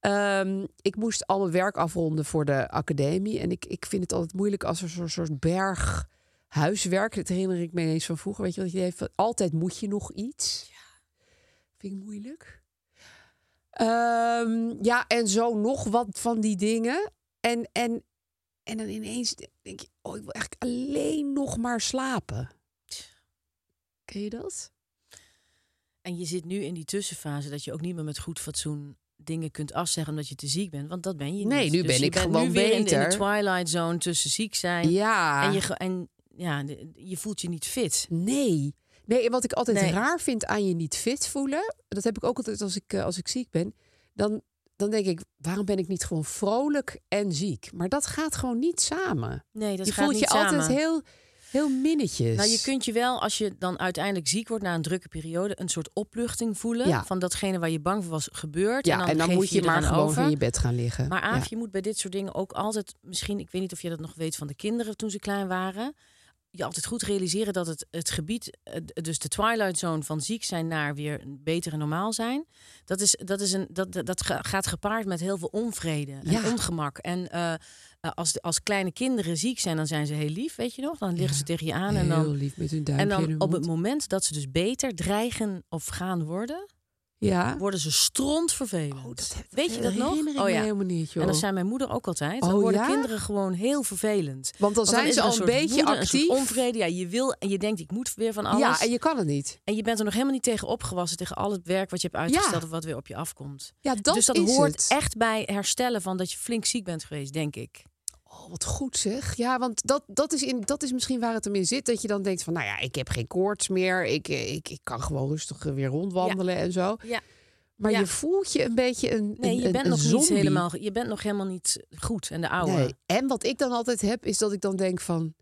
Ehm, ik moest al mijn werk afronden voor de academie. En ik, ik vind het altijd moeilijk als er zo'n soort berg huiswerk... Dat herinner ik me ineens van vroeger. Weet je, dat je denkt van, altijd moet je nog iets. Vind ik moeilijk. Ehm, ja, en zo nog wat van die dingen. En, en, en dan ineens denk je... Oh, ik wil eigenlijk alleen nog maar slapen. Ken je dat? En je zit nu in die tussenfase dat je ook niet meer met goed fatsoen dingen kunt afzeggen omdat je te ziek bent. Want dat ben je Nee, niet. nu Dus ben je ik bent gewoon nu weer in- In, beter. de twilight zone tussen ziek zijn. Ja. En, je, ge- en ja, de- je voelt je niet fit. Nee. Nee, en wat ik altijd Nee. raar vind aan je niet fit voelen, dat heb ik ook altijd als ik, eh, als ik ziek ben, dan, dan denk ik, waarom ben ik niet gewoon vrolijk en ziek? Maar dat gaat gewoon niet samen. Nee, dat je gaat voelt niet je samen. altijd heel, dus. heel minnetjes. Nou, je kunt je wel, als je dan uiteindelijk ziek wordt na een drukke periode, een soort opluchting voelen Ja. van datgene waar je bang voor was gebeurd. ja, en dan, geef moet je, maar eraan gewoon over. in je bed gaan liggen. Maar ja. Aaf, je moet bij dit soort dingen ook altijd, misschien, ik weet niet of je dat nog weet van de kinderen toen ze klein waren, je altijd goed realiseren dat het, het gebied, eh, d- dus de twilight zone van ziek zijn naar weer een beter en normaal zijn, dat, is, dat, is een, dat, dat- dat ga- gaat gepaard met heel veel onvrede en Ja. ongemak. En eh, eh, als, de- als kleine kinderen ziek zijn, dan zijn ze heel lief, weet je nog? Dan liggen Ja. ze tegen je aan en heel dan. lief met hun duimpje En in hun dan op het mond. moment dat ze dus beter dreigen of gaan worden, Ja. worden ze strontvervelend. Oh, dat heb- Weet je dat nog? Oh, herinner ik me helemaal niet, joh. En dat zijn mijn moeder ook altijd. Dan Oh, worden ja? kinderen gewoon heel vervelend. Want dan zijn is ze er al een soort beetje woede, Een actief. soort onvrede. Ja, je wil en je denkt ik moet weer van alles. ja, en je kan het niet. En je bent er nog helemaal niet tegen opgewassen tegen al het werk wat je hebt uitgesteld Ja. of wat weer op je afkomt. Ja, dat dus dat is hoort het. echt bij herstellen van dat je flink ziek bent geweest, denk ik. Oh, wat goed zeg. Ja, want dat, dat, is in, dat is misschien waar het hem in zit. Dat je dan denkt van, nou ja, ik heb geen koorts meer. Ik, eh, ik, ik kan gewoon rustig eh, weer rondwandelen en zo. Ja. Maar Ja. je voelt je een beetje een Nee, een- je een- bent een nog niet zombie. helemaal, je bent nog helemaal niet goed en de oude. Nee. En wat ik dan altijd heb, is dat ik dan denk van...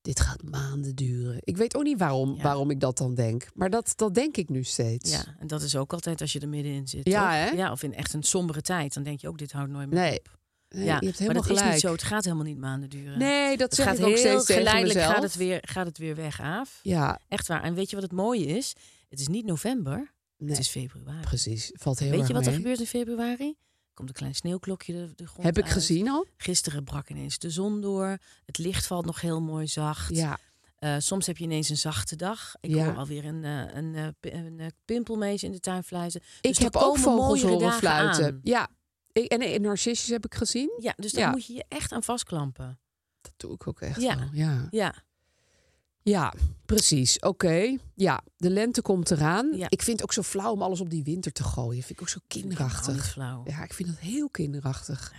Dit gaat maanden duren. Ik weet ook niet waarom, Ja. waarom ik dat dan denk. Maar dat, dat denk ik nu steeds. Ja, en dat is ook altijd als je er middenin zit. Ja, toch? hè? ja of in echt een sombere tijd. Dan denk je ook, dit houdt nooit meer Nee, op. ja, Nee, je hebt maar helemaal dat is gelijk. niet zo. Het gaat helemaal niet maanden duren. Nee, dat het zeg gaat ik ook heel steeds tegen geleidelijk mezelf. gaat het, weer, gaat het weer weg af. Ja, Echt waar. En weet je wat het mooie is? Het is niet november, nee, het is februari. precies. Valt heel Weet erg je wat er mee. gebeurt in februari? Er komt een klein sneeuwklokje de, de grond Heb ik uit. gezien al? Gisteren brak ineens de zon door. Het licht valt nog heel mooi zacht. Ja. Eh, soms heb je ineens een zachte dag. Ik Ja. hoor alweer een, eh, een, eh, pi- een, eh, pimpelmees in de tuin fluiten. Ik Dus er heb ook komen vogels mooiere horen dagen fluiten. aan. Ja. Ik, en, en narcissus heb ik gezien. Ja, dus daar Ja. moet je je echt aan vastklampen. Dat doe ik ook echt Ja. wel. Ja, Ja, ja precies. Oké. Ja, de lente komt eraan. Ja. Ik vind het ook zo flauw om alles op die winter te gooien. Vind ik ook zo Helemaal Oh, niet kinderachtig. flauw. Ja, ik vind dat heel kinderachtig.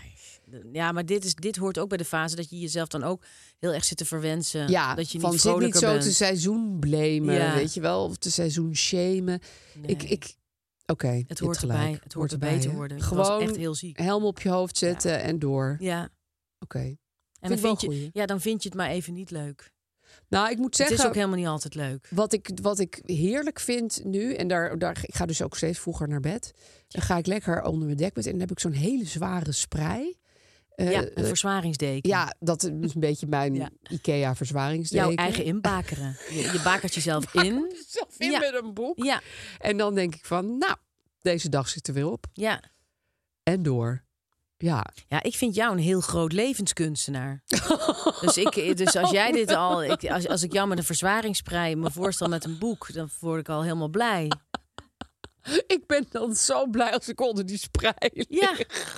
Ja, maar dit, is, dit hoort ook bij de fase dat je jezelf dan ook heel erg zit te verwensen. ja, dat je van niet zit niet vrolijker zo bent. te seizoen blamen, Ja. weet je wel. Of te seizoen shamen. Ik, Nee. ik, Oké, je het hebt hoort gelijk. erbij. Het hoort erbij te hè? worden. Gewoon was echt Gewoon heel ziek. helm op je hoofd zetten en door. Ja, Oké. en ik dan wel vind, je, goeie. ja, dan vind je het maar even niet leuk. Nou, ik moet zeggen... Het is ook helemaal niet altijd leuk. Wat ik, wat ik heerlijk vind nu, en daar, daar, ik ga dus ook steeds vroeger naar bed. Dan ga ik lekker onder mijn dekbed en dan heb ik zo'n hele zware sprei. Eh, ja, een eh, verzwaringsdeken. ja, dat is een beetje mijn Ja. IKEA-verzwaringsdeken. Jouw eigen <laughs> inbakeren. Je, je bakert jezelf in. zelf in Ja. met een boek. Ja, En dan denk ik van, nou, deze dag zit er weer op. ja. En door. Ja, <laughs> Ja, ik vind jou een heel groot <laughs> levenskunstenaar. dus, ik, dus als jij Oh. dit al, ik, als, als ik jou met een verzwaringsprei me voorstel met een boek, dan word ik al helemaal blij. ik ben dan zo blij als ik onder die sprei lig.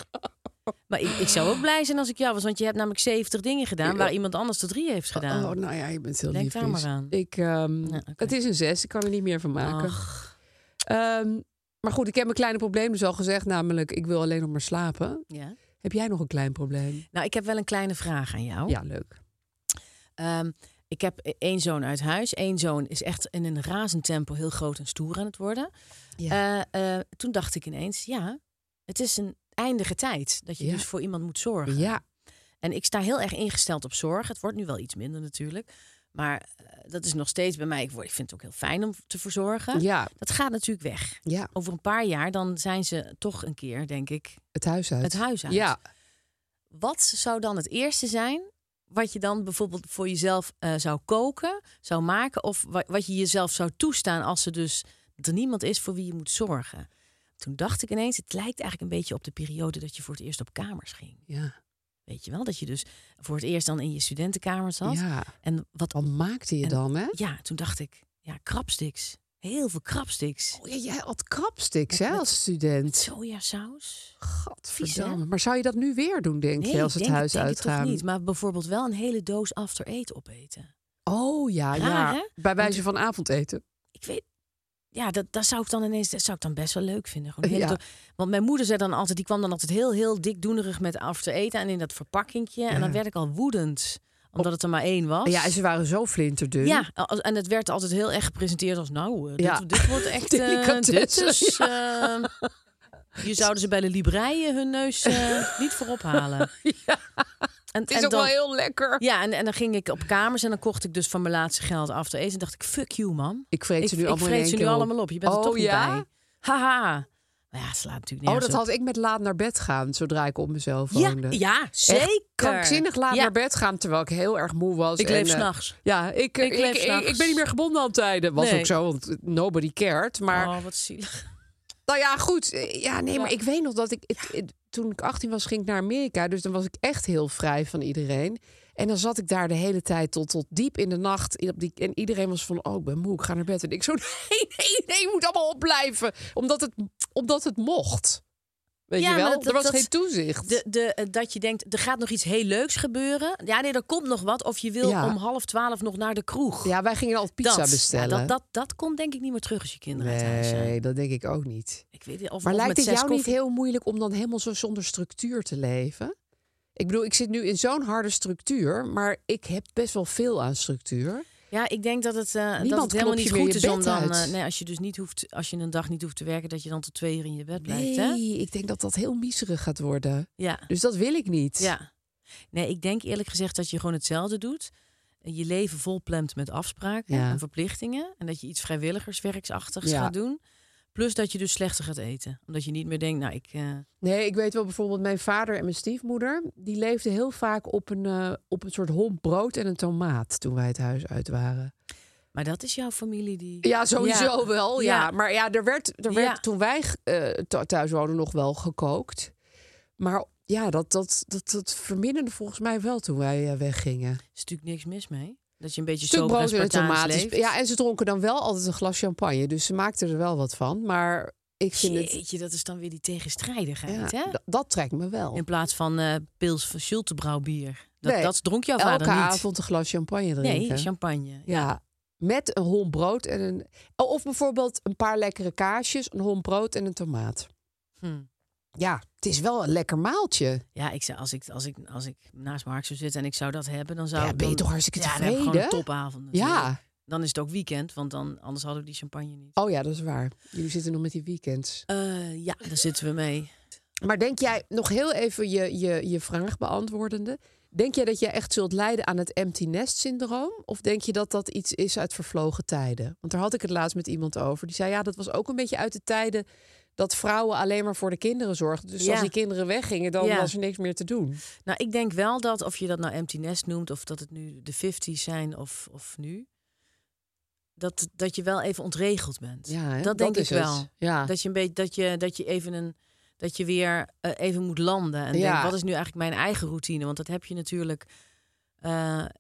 <laughs> Ja. Maar ik, ik zou ook blij zijn als ik jou was, want je hebt namelijk 70 dingen gedaan waar iemand anders er drie heeft gedaan. Oh, nou ja, je bent heel Denk lief. daar maar Lies. aan. Ik, ehm, Ja, oké. Het is een zes, ik kan er niet meer van maken. Ach, Ehm, Maar goed, ik heb mijn kleine probleem dus al gezegd. Namelijk, ik wil alleen nog maar slapen. Ja. Heb jij nog een klein probleem? Nou, ik heb wel een kleine vraag aan jou. Ja, leuk. Ehm, ik heb e- één zoon uit huis. Eén zoon is echt in een razend tempo heel groot en stoer aan het worden. Eh, eh, toen dacht ik ineens, ja, het is een eindige tijd dat je Ja. dus voor iemand moet zorgen. Ja, En ik sta heel erg ingesteld op zorg. Het wordt nu wel iets minder natuurlijk. Maar eh, dat is nog steeds bij mij. Ik, word, ik vind het ook heel fijn om te verzorgen. ja, Dat gaat natuurlijk weg. ja. Over een paar jaar dan zijn ze toch een keer, denk ik, Het huis uit. het huis uit. Ja, Wat zou dan het eerste zijn wat je dan bijvoorbeeld voor jezelf eh, zou koken, zou maken of wa- wat je jezelf zou toestaan als er dus dat er niemand is voor wie je moet zorgen? Toen dacht ik ineens, het lijkt eigenlijk een beetje op de periode dat je voor het eerst op kamers ging. ja, Weet je wel, dat je dus voor het eerst dan in je studentenkamer zat. ja. En wat Wat maakte je En- dan, hè? Ja, toen dacht ik, ja, krabstiks. Heel veel krabstiks. Oh, ja, jij had krapsticks, hè, Met- als student. Sojasaus? Vies, Gadverdamme. hè? Maar zou je dat nu weer doen, denk je, als ik het denk huis denk het uitgaan? toch niet. Maar bijvoorbeeld wel een hele doos after eight opeten. Oh ja, Raar, ja. hè? Bij wijze van avondeten. Ik weet... Ja, dat, dat zou ik dan ineens dat zou ik dan best wel leuk vinden. Gewoon een hele Ja. do- Want mijn moeder zei dan altijd, die kwam dan altijd heel, heel dikdoenerig met after eten en in dat verpakkingje. En dan werd ik al woedend, omdat het er maar één was. Ja, en ze waren zo flinterdun. Ja, als- en het werd altijd heel erg gepresenteerd als nou, eh, dit, Ja. dit <laughs> wordt echt... eh, dit Delicatessen, <laughs> is... eh, je zouden ze bij de libraaien hun neus eh, niet voorop halen. <laughs> En, Het is en ook dan- wel heel lekker. Ja, en, en dan ging ik op kamers en dan kocht ik dus van mijn laatste geld af te eten. En dacht ik, fuck you man. Ik vreet ze nu ik allemaal in vreet één ze nu keer op. allemaal op. Je bent Oh, er toch niet ja? bij. Haha. Maar ja, het slaat natuurlijk Oh, nergens dat had ik met laat naar bed gaan, zodra ik op mezelf op. Ja, woonde. ja, Echt zeker. krankzinnig laat Ja, naar bed gaan, terwijl ik heel erg moe was. Ik leef en, eh, s'nachts. Ja, ik, ik, Ik leef ik, s'nachts. ik ben niet meer gebonden aan tijden. Was Nee. ook zo, want nobody cared. Maar Oh, wat zielig. Nou ja, goed. Eh, Ja, nee, maar ik weet nog dat ik... het- het- toen ik 18 was, ging ik naar Amerika. Dus dan was ik echt heel vrij van iedereen. En dan zat ik daar de hele tijd tot, tot diep in de nacht. in- op die- En iedereen was van, oh, ik ben moe, ik ga naar bed. En ik zo, <laughs> nee, nee, nee, je moet allemaal opblijven. Omdat het, omdat het mocht. Weet Ja, je maar wel? dat- er was dat- geen toezicht. De, de, eh, dat je denkt, er gaat nog iets heel leuks gebeuren. Ja, nee, er komt nog wat. Of je wil Ja. om half twaalf nog naar de kroeg. Ja, wij gingen altijd pizza dat, ja, bestellen. dat, dat, dat komt denk ik niet meer terug als je kinderen uit huis zijn. nee, dat denk ik ook niet. Ik weet niet of, Maar of lijkt met het zes jou niet koffie- heel moeilijk om dan helemaal zo zonder structuur te leven? Ik bedoel, ik zit nu in zo'n harde structuur, maar ik heb best wel veel aan structuur. Ja, ik denk dat het, eh, dat Niemand het helemaal knopt je niet meer goed je is om bed dan... uit. eh, nee, als je dus niet hoeft, als je een dag niet hoeft te werken, dat je dan tot twee uur in je bed blijft, hè? Nee, ik denk dat dat heel miserig gaat worden. Ja, Dus dat wil ik niet. ja. Nee, ik denk eerlijk gezegd dat je gewoon hetzelfde doet. Je leven volplemt met afspraken Ja. en verplichtingen. En dat je iets vrijwilligerswerksachtigs Ja. gaat doen. Plus dat je dus slechter gaat eten. Omdat je niet meer denkt, nou, ik... eh, Nee, ik weet wel bijvoorbeeld mijn vader en mijn stiefmoeder... die leefden heel vaak op een, eh, op een soort homp brood en een tomaat... toen wij het huis uit waren. Maar dat is jouw familie die... Ja, sowieso wel, ja. Ja. Maar ja, er werd, er Ja. werd toen wij eh, th- thuis woonden nog wel gekookt. Maar ja, dat, dat, dat, dat verminderde volgens mij wel toen wij eh, weggingen. is natuurlijk niks mis mee. Dat je een beetje Stuk sober en brood en Spartaans tomaten. leeft. Ja, en ze dronken dan wel altijd een glas champagne. Dus ze maakten er wel wat van. Maar ik vind het... Jeetje, dat is dan weer die tegenstrijdigheid, ja, hè? d- dat trekt me wel. In plaats van eh, pils van Schultebrouw bier. Dat, Nee, dat dronk jouw vader Elke niet. avond een glas champagne drinken. Nee, champagne. Ja, met een hom brood en een... oh, Of bijvoorbeeld een paar lekkere kaasjes, een hom brood en een tomaat. Hm. Ja, het is wel een lekker maaltje. Ja, ik zou, als, ik, als, ik, als ik naast Mark zou zitten en ik zou dat hebben, dan zou Ja, ik ben je dan- toch hartstikke ja, dan heb ik tevreden? gewoon een topavond. natuurlijk. Ja. Dan is het ook weekend, want dan, anders hadden we die champagne niet. Oh ja, dat is waar. Jullie zitten nog met die weekends. Eh, ja, daar zitten we mee. Maar denk jij, nog heel even je, je, je vraag beantwoordende. Denk jij dat jij echt zult lijden aan het empty nest syndroom? Of denk je dat dat iets is uit vervlogen tijden? Want daar had ik het laatst met iemand over. Die zei, ja, dat was ook een beetje uit de tijden dat vrouwen alleen maar voor de kinderen zorgden. Dus Ja. als die kinderen weggingen, dan Ja. was er niks meer te doen. Nou, ik denk wel dat, of je dat nou empty nest noemt, of dat het nu de 50's zijn of, of nu, dat, dat je wel even ontregeld bent. Ja, hè? dat denk is ik wel. het. Ja. Dat je een beetje dat je dat je even een dat je weer eh, even moet landen en Ja. denkt, wat is nu eigenlijk mijn eigen routine? Want dat heb je natuurlijk. eh,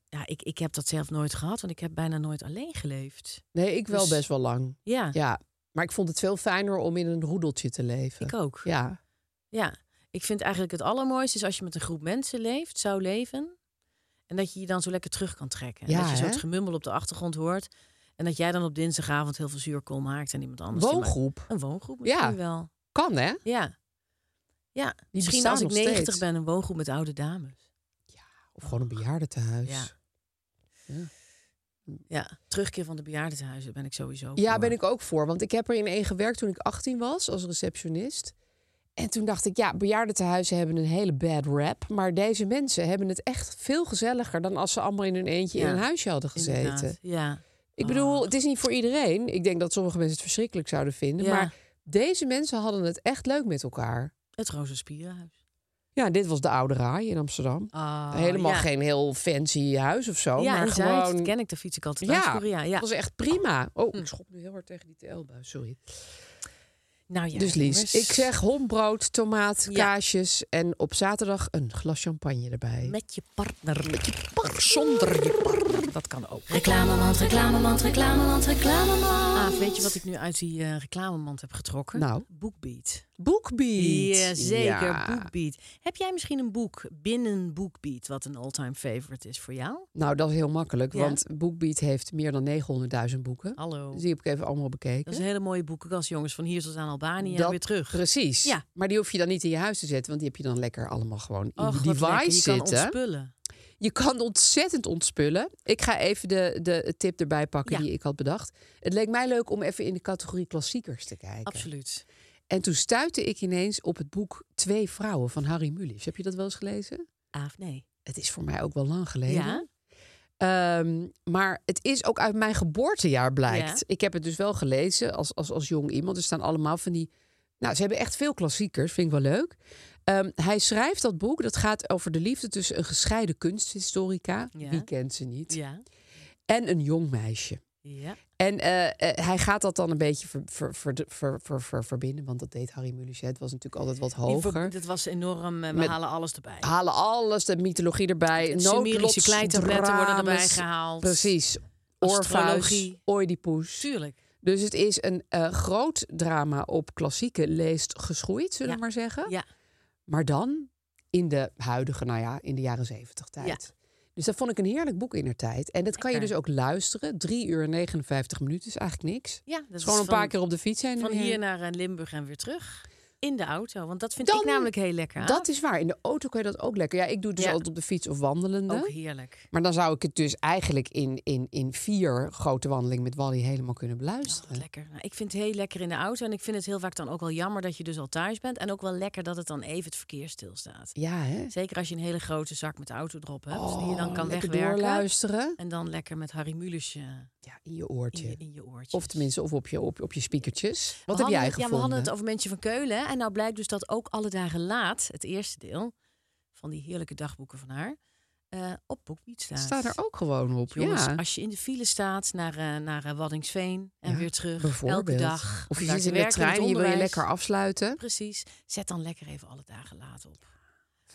ja, ik, ik heb dat zelf nooit gehad, want ik heb bijna nooit alleen geleefd. Nee, ik wel Dus- best wel lang. Ja, Ja. Maar ik vond het veel fijner om in een roedeltje te leven. ik ook. Ja. Ja. ik vind eigenlijk het allermooiste is als je met een groep mensen leeft, zou leven, en dat je je dan zo lekker terug kan trekken. En Ja, dat je zo'n hè? gemummel op de achtergrond hoort. En dat jij dan op dinsdagavond heel veel zuurkool maakt en iemand anders. die maakt- Woongroep. Een woongroep Ja. misschien wel. Kan, hè? Ja. Ja, misschien bestaan als ik nog 90 steeds. ben, een woongroep met oude dames. Of gewoon een bejaardentehuis. Ja. Ja, terugkeer van de bejaardentehuizen ben ik sowieso Ja, voor. ben ik ook voor. Want ik heb er in één gewerkt toen ik 18 was als receptionist. En toen dacht ik, ja, bejaardentehuizen hebben een hele bad rap. Maar deze mensen hebben het echt veel gezelliger dan als ze allemaal in hun eentje Ja, in een huisje hadden gezeten. Inderdaad, Oh. Ja. Ik bedoel, het is niet voor iedereen. Ik denk dat sommige mensen het verschrikkelijk zouden vinden. Ja. Maar deze mensen hadden het echt leuk met elkaar. Het Roze Spierenhuis. Ja, dit was de Oude Raai in Amsterdam. Ah, Helemaal Ah, Oh, ja. geen heel fancy huis of zo. ja, maar in gewoon... Zuid, dat ken ik, daar fiets ik altijd langs Ja, vroeger, ja, Hm. ja. dat was echt prima. Oh, ik schop nu heel hard tegen die TL-buis, sorry. Nou ja, dus Lies, jongens. ik zeg hombrood, tomaat, Ja. kaasjes en op zaterdag een glas champagne erbij. Met je partner. Met je partner. Zonder je partner. Dat kan ook. Reclamemand, reclamemand, reclamemand, reclamemand. Ah, weet je wat ik nu uit die eh, reclamemand heb getrokken? Nou? Boekbeat. Boekbeat. Ja, zeker. Ja. Boekbeat. Heb jij misschien een boek binnen Boekbeat wat een all-time favorite is voor jou? Nou, dat is heel makkelijk, Ja. Oh. want Boekbeat heeft meer dan 900.000 boeken. Hallo. Dus die heb ik even allemaal bekeken. Dat is een hele mooie boekenkast, jongens. Van hier tot aan Albanië en Dat- weer terug. Precies. Ja. Maar die hoef je dan niet in je huis te zetten, want die heb je dan lekker allemaal gewoon in Och, die wat lekker. device Je kan zitten. ontspullen. Je kan ontzettend ontspullen. Ik ga even de, de tip erbij pakken Ja. die ik had bedacht. Het leek mij leuk om even in de categorie klassiekers te kijken. Absoluut. En toen stuitte ik ineens op het boek Twee Vrouwen van Harry Mulisch. Heb je dat wel eens gelezen? Ah of nee? Het is voor mij ook wel lang Ja? geleden. Ehm, maar het is ook uit mijn geboortejaar blijkt. Ja. Ik heb het dus wel gelezen als, als, als jong iemand. Er staan allemaal van die... Nou, ze hebben echt veel klassiekers. Vind ik wel leuk. Ehm, hij schrijft dat boek. Dat gaat over de liefde tussen een gescheiden kunsthistorica. Ja. Wie kent ze niet? Ja. En een jong meisje. Ja. En eh, eh, hij gaat dat dan een beetje ver, ver, ver, ver, ver, ver- verbinden. Want dat deed Harry Mulisch. hè. Het was natuurlijk altijd wat Die ver- hoger. Dat was enorm. eh, We Met- halen alles erbij. Halen alles, de mythologie erbij. Sumerische noodlots, kleitabletten worden erbij dramas. gehaald. Precies. Orpheus, Astrologie. Oedipus. Tuurlijk. Dus het is een eh, groot drama op klassieke leest geschroeid, zullen Ja. we maar zeggen. Ja. Maar dan in de huidige, nou ja, in de jaren zeventig tijd. Dus dat vond ik een heerlijk boek in de tijd. En dat kan je Lekker. dus ook luisteren. 3 uur en 59 minuten is eigenlijk niks. Ja, dat Het is is gewoon een van- paar keer op de fiets zijn. en Van weer. hier naar eh, Limburg en weer terug. In de auto. Want dat vind Dan- ik namelijk heel lekker. Dat is waar. In de auto kan je dat ook lekker. Ja, ik doe het dus Ja. altijd op de fiets of wandelende. ook heerlijk. Maar dan zou ik het dus eigenlijk in, in, in vier grote wandelingen met Wally helemaal kunnen Oh, beluisteren. wat lekker. Nou, ik vind het heel lekker in de auto. En ik vind het heel vaak dan ook wel jammer dat je dus al thuis bent. En ook wel lekker dat het dan even het verkeer stilstaat. ja, hè? Zeker als je een hele grote zak met autodrop hebt. die je Oh, dan kan lekker wegwerken. doorluisteren. En dan lekker met Harry Mulisch eh, Ja, in je in, oortje. je, in je oortjes. Of tenminste, of op je, op, op je speakertjes. Wat We heb jij hadden het- gevonden? Ja, we hadden het over mensen van Keulen. hè. En nou blijkt dus dat ook Alle Dagen Laat, het eerste deel van die heerlijke dagboeken van haar, eh, op Boekbeat staat. Staat er ook gewoon op, Jongens, ja. als je in de file staat naar, eh, naar eh, Waddinxveen en Ja, weer terug, Bijvoorbeeld. elke dag. Of je naar zit in de werk, trein en het je wil je onderwijs. lekker afsluiten. Precies. Zet dan lekker even alle dagen laat op.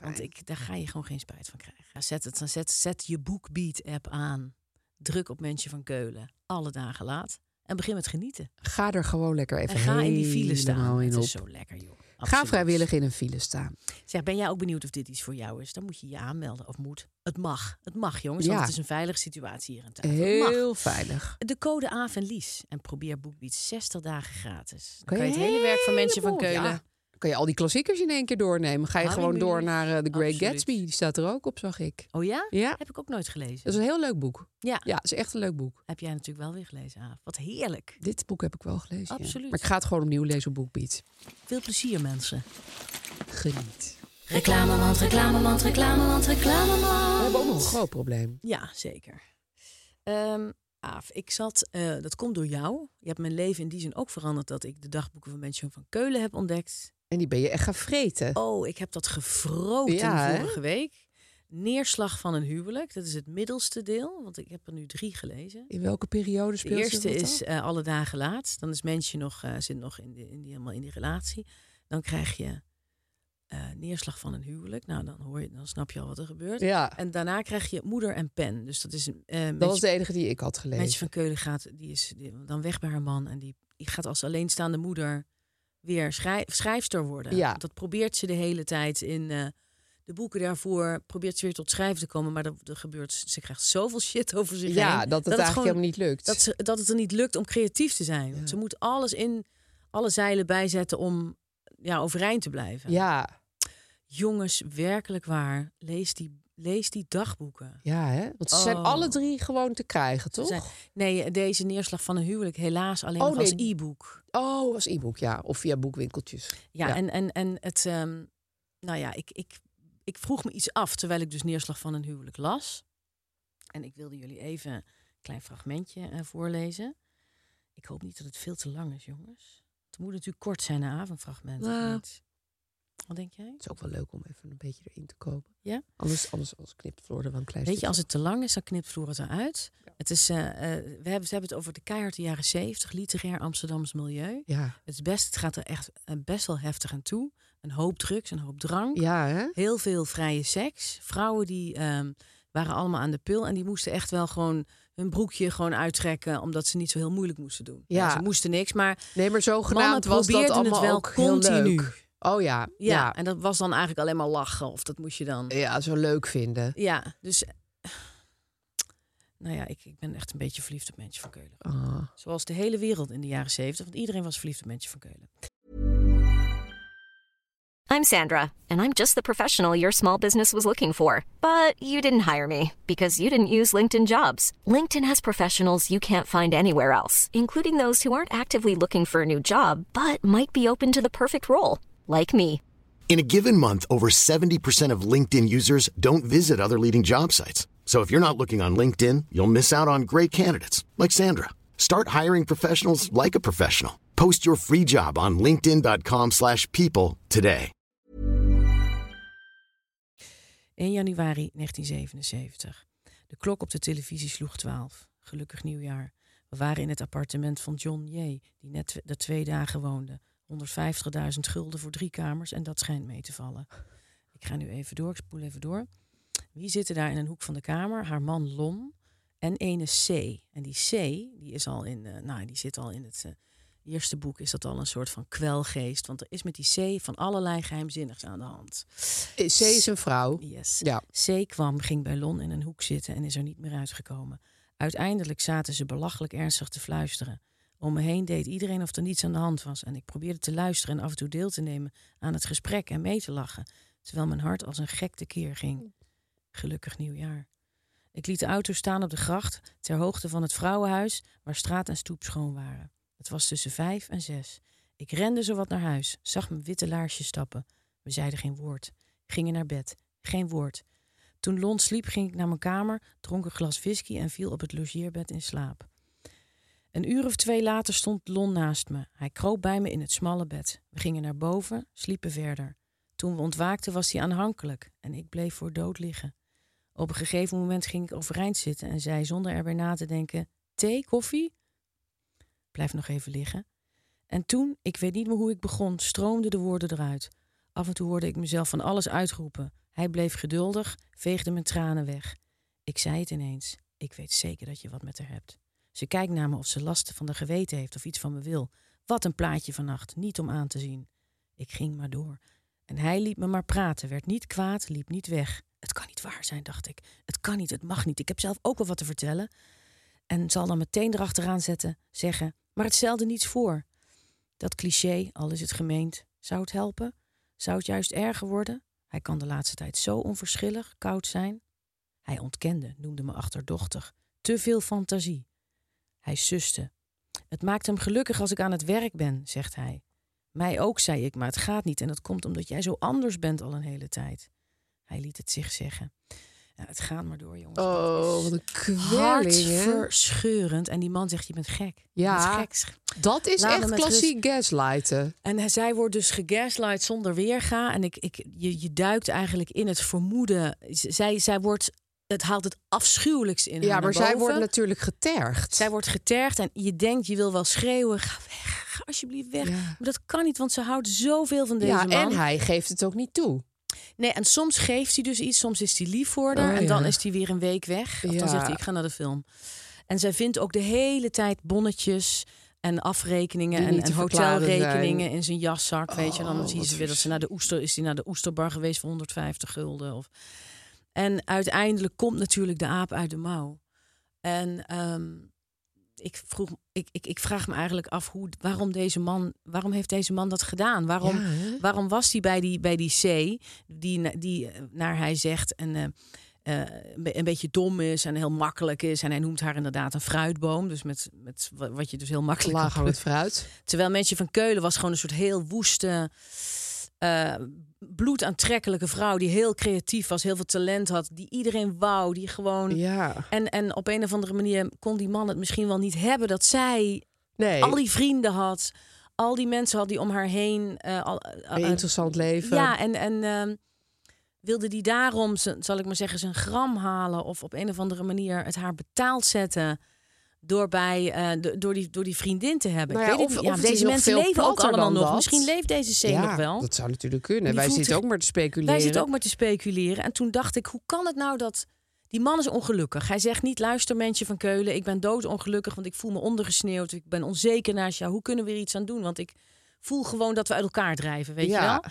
Want Fijn. ik, daar ga je gewoon geen spijt van krijgen. Ja, zet, het, dan zet, zet je Boekbeat-app aan. Druk op mensen van Keulen. Alle dagen laat. En begin met genieten. Ga er gewoon lekker even en ga in die file helemaal staan. In Het op. is zo lekker, joh. Ga Absoluut. vrijwillig in een file staan. Zeg, ben jij ook benieuwd of dit iets voor jou is? Dan moet je je aanmelden. Of moet. Het mag. Het mag, jongens. Ja. Want het is een veilige situatie hier aan tafel. Het mag. Heel veilig. De code AAF en Lies. En probeer BookBeat 60 dagen gratis. Dan Kan kan je je het hele werk van mensen van heleboel, Keulen. ja. Kan je al die klassiekers in één keer doornemen? Ga je Harry gewoon door Mulisch. naar eh, The Great Absoluut. Gatsby? Die staat er ook op, zag ik. Oh ja? Ja, Heb ik ook nooit gelezen. dat is een heel leuk boek. Ja. Ja, het is echt een leuk boek. Heb jij natuurlijk wel weer gelezen, Aaf. Wat heerlijk. Dit boek heb ik wel gelezen. ja. Absoluut. Maar ik ga het gewoon opnieuw lezen op Boekbeat. Veel plezier, mensen. Geniet. Reclamemand, reclamemand, reclamemand, We reclamemand. hebben ook nog een groot probleem. Ja, zeker. Ehm, Aaf, ik zat... eh, dat komt door jou. Je hebt mijn leven in die zin ook veranderd... dat ik de dagboeken van mensen van Keulen heb ontdekt. En die ben je echt gaan vreten. Oh, ik heb dat gevroten Ja, hè? vorige week. Neerslag van een huwelijk. Dat is het middelste deel. Want ik heb er nu drie gelezen. In welke periode De speelt eerste zich dat is af? eh, alle dagen laat. Dan is mensje nog, eh, zit nog in die, in die, helemaal in die relatie. Dan krijg je eh, neerslag van een huwelijk. Nou, dan, hoor je, dan snap je al wat er gebeurt. Ja, En daarna krijg je moeder en pen. Dus dat is een eh, dat was mensje, de enige die ik had gelezen. mensje van Keulen gaat die is die- dan weg bij haar man. En die, die gaat als alleenstaande moeder weer schrij- schrijfster worden. Ja. Dat probeert ze de hele tijd in. eh, de boeken daarvoor probeert ze weer tot schrijven te komen. Maar dat, er gebeurt, ze krijgt zoveel <laughs> shit over zich Ja, heen, dat het gewoon- eigenlijk helemaal niet lukt. dat, ze, dat het er niet lukt om creatief te zijn. Want ze moet alles in, alle zeilen bijzetten om ja, overeind te blijven. Ja, Jongens, werkelijk waar, lees die, lees die dagboeken. ja hè? Want ze zijn Oh. alle drie gewoon te krijgen, Ze toch? zijn- nee, deze neerslag van een huwelijk helaas alleen Oh, nog als nee. e-book. Oh, als e-book, ja. Of via boekwinkeltjes. Ja, Ja. En, en, en het... ehm, nou ja, ik, ik, ik vroeg me iets af terwijl ik dus neerslag van een huwelijk las. En ik wilde jullie even een klein fragmentje eh, voorlezen. Ik hoop niet dat het veel te lang is, jongens. Het moet natuurlijk kort zijn, een avondfragment. of Nou. niet? Wat denk jij? Het is ook wel leuk om even een beetje erin te komen. Ja? Anders, anders, anders knipt Floor er wel een klein Weet je, als stukje. het te lang is, dan knipt Floor het eruit. Het is, eh, eh, we, hebben, ze hebben het over de keiharde jaren 70, literair Amsterdams milieu. Ja, Het, is best, het gaat er echt eh, best wel heftig aan toe. Een hoop drugs, een hoop drank. ja hè? Heel veel vrije seks. Vrouwen die ehm, waren allemaal aan de pil en die moesten echt wel gewoon hun broekje gewoon uittrekken, omdat ze niet zo heel moeilijk moesten doen. Ja. ze moesten niks, maar Nee, maar zogenaamd Mannen was dat probeerden het allemaal wel ook heel continu. leuk. Oh ja, ja, ja. en dat was dan eigenlijk alleen maar lachen of dat moest je dan. Ja, zo leuk vinden. Ja, dus. Nou ja, ik, ik ben echt een beetje verliefd op mensen van Keulen. Ah. Zoals de hele wereld in de jaren 70, want iedereen was verliefd op mensen van Keulen. I'm Sandra, and I'm just the professional your small business was looking for. But you didn't hire me because you didn't use LinkedIn jobs. LinkedIn has professionals you can't find anywhere else, including those who aren't actively looking for a new job but might be open to the perfect role, like me. In a given month, over 70% of LinkedIn users don't visit other leading job sites. So if you're not looking on LinkedIn, you'll miss out on great candidates like Sandra. Start hiring professionals like a professional. Post your free job on linkedin.com/people slash people today. 1 januari 1977. De klok op de televisie sloeg 12. Gelukkig nieuwjaar. We waren in het appartement van John J., die net tw- er twee dagen woonde. 150.000 gulden voor drie kamers en dat schijnt mee te vallen. Ik ga nu even door, ik spoel even door. Wie zitten daar in een hoek van de kamer? Haar man Lon en ene C. En die C, die, is al in, eh, nou, die zit al in het eh, eerste boek, is dat al een soort van kwelgeest. Want er is met die C van allerlei geheimzinnigs aan de hand. C Eh, is een vrouw. Yes. Ja. C kwam, ging bij Lon in een hoek zitten en is er niet meer uitgekomen. Uiteindelijk zaten ze belachelijk ernstig te fluisteren. Om me heen deed iedereen of er niets aan de hand was. En ik probeerde te luisteren en af en toe deel te nemen aan het gesprek en mee te lachen. Terwijl mijn hart als een gek tekeer ging. Gelukkig nieuwjaar. Ik liet de auto staan op de gracht ter hoogte van het vrouwenhuis waar straat en stoep schoon waren. Het was tussen vijf en zes. Ik rende zowat naar huis, zag mijn witte laarsje stappen. We zeiden geen woord, gingen naar bed, geen woord. Toen Lon sliep, ging ik naar mijn kamer, dronk een glas whisky en viel op het logeerbed in slaap. Een uur of twee later stond Lon naast me. Hij kroop bij me in het smalle bed. We gingen naar boven, sliepen verder. Toen we ontwaakten was hij aanhankelijk en ik bleef voor dood liggen. Op een gegeven moment ging ik overeind zitten en zei zonder erbij na te denken: thee, koffie? Blijf nog even liggen. En toen, ik weet niet meer hoe ik begon, stroomden de woorden eruit. Af en toe hoorde ik mezelf van alles uitroepen. Hij bleef geduldig, veegde mijn tranen weg. Ik zei het ineens. Ik weet zeker dat je wat met haar hebt. Ze kijkt naar me of ze last van de geweten heeft of iets van me wil. Wat een plaatje vannacht, niet om aan te zien. Ik ging maar door. En hij liet me maar praten, werd niet kwaad, liep niet weg. Het kan niet waar zijn, dacht ik. Het kan niet, het mag niet. Ik heb zelf ook wel wat te vertellen. En zal dan meteen erachteraan zetten, zeggen, maar het stelde niets voor. Dat cliché, al is het gemeend, zou het helpen? Zou het juist erger worden? Hij kan de laatste tijd zo onverschillig, koud zijn. Hij ontkende, noemde me achterdochtig. Te veel fantasie. Hij suste. Het maakt hem gelukkig als ik aan het werk ben, zegt hij. Mij ook, zei ik, maar het gaat niet en dat komt omdat jij zo anders bent al een hele tijd. Hij liet het zich zeggen. Ja, het gaat maar door, jongens. Oh, wat een kwelling, hè? Hartverscheurend. En die man zegt, je bent gek. Ja. Je bent gek. Dat is Laat echt me met rust. klassiek gaslighten. En hij- zij wordt dus gegaslight zonder weerga. En ik, ik, je, je duikt eigenlijk in het vermoeden. Z- Zij, zij wordt, het haalt het afschuwelijkst in haar Ja, maar naar zij boven. wordt natuurlijk getergd. Zij wordt getergd en je denkt, je wil wel schreeuwen. Ga weg, ga alsjeblieft weg. Ja. Maar dat kan niet, want ze houdt zoveel van deze ja, man. en hij geeft het ook niet toe. Nee, en soms geeft hij dus iets, soms is hij lief voor haar. Oh, en dan ja. is hij weer een week weg. Of Ja. dan zegt hij, ik ga naar de film. En zij vindt ook de hele tijd bonnetjes. en afrekeningen Die en, niet te en verklaren hotelrekeningen zijn. in zijn jaszak. weet je, dan Oh, zien wat ze weer dat ze naar de oester is. Hij naar de oesterbar geweest voor 150 gulden. Of... En uiteindelijk komt natuurlijk de aap uit de mouw. En ehm, ik, vroeg, ik, ik, ik vraag me eigenlijk af hoe, waarom, deze man, waarom heeft deze man dat gedaan? Waarom, Ja, hè? waarom was hij bij die, bij die C, die, na- die eh, naar hij zegt een, eh, eh, een be- een beetje dom is en heel makkelijk is. En hij noemt haar inderdaad een fruitboom. Dus met, met wa- wat je dus heel makkelijk kan Laag het plukken. fruit. Terwijl mensen van Keulen was gewoon een soort heel woeste, eh, bloedaantrekkelijke vrouw. Die heel creatief was, heel veel talent had. Die iedereen wou, die gewoon... Ja. En, en op een of andere manier kon die man het misschien wel niet hebben dat zij Nee. al die vrienden had. Al die mensen had die om haar heen. eh, al, eh, Een eh, interessant leven. ja, en, en ehm, wilde die daarom, z- zal ik maar zeggen, zijn gram halen of op een of andere manier het haar betaald zetten door, bij, eh, do- door, die, door die vriendin te hebben. Nou ik ja, weet het of- niet. of ja, het is deze nog mensen veel leven ook platter allemaal dan nog. dat. Misschien leeft deze C Ja, nog wel. Dat zou natuurlijk kunnen. Die Wij voelt zitten zich- ook maar te speculeren. Wij zitten ook maar te speculeren. En toen dacht ik, hoe kan het nou dat... Die man is ongelukkig. Hij zegt niet, luister mensje van Keulen, ik ben doodongelukkig, want ik voel me ondergesneeuwd. Ik ben onzeker naast jou. Hoe kunnen we er iets aan doen? Want ik voel gewoon dat we uit elkaar drijven, weet je wel? ja.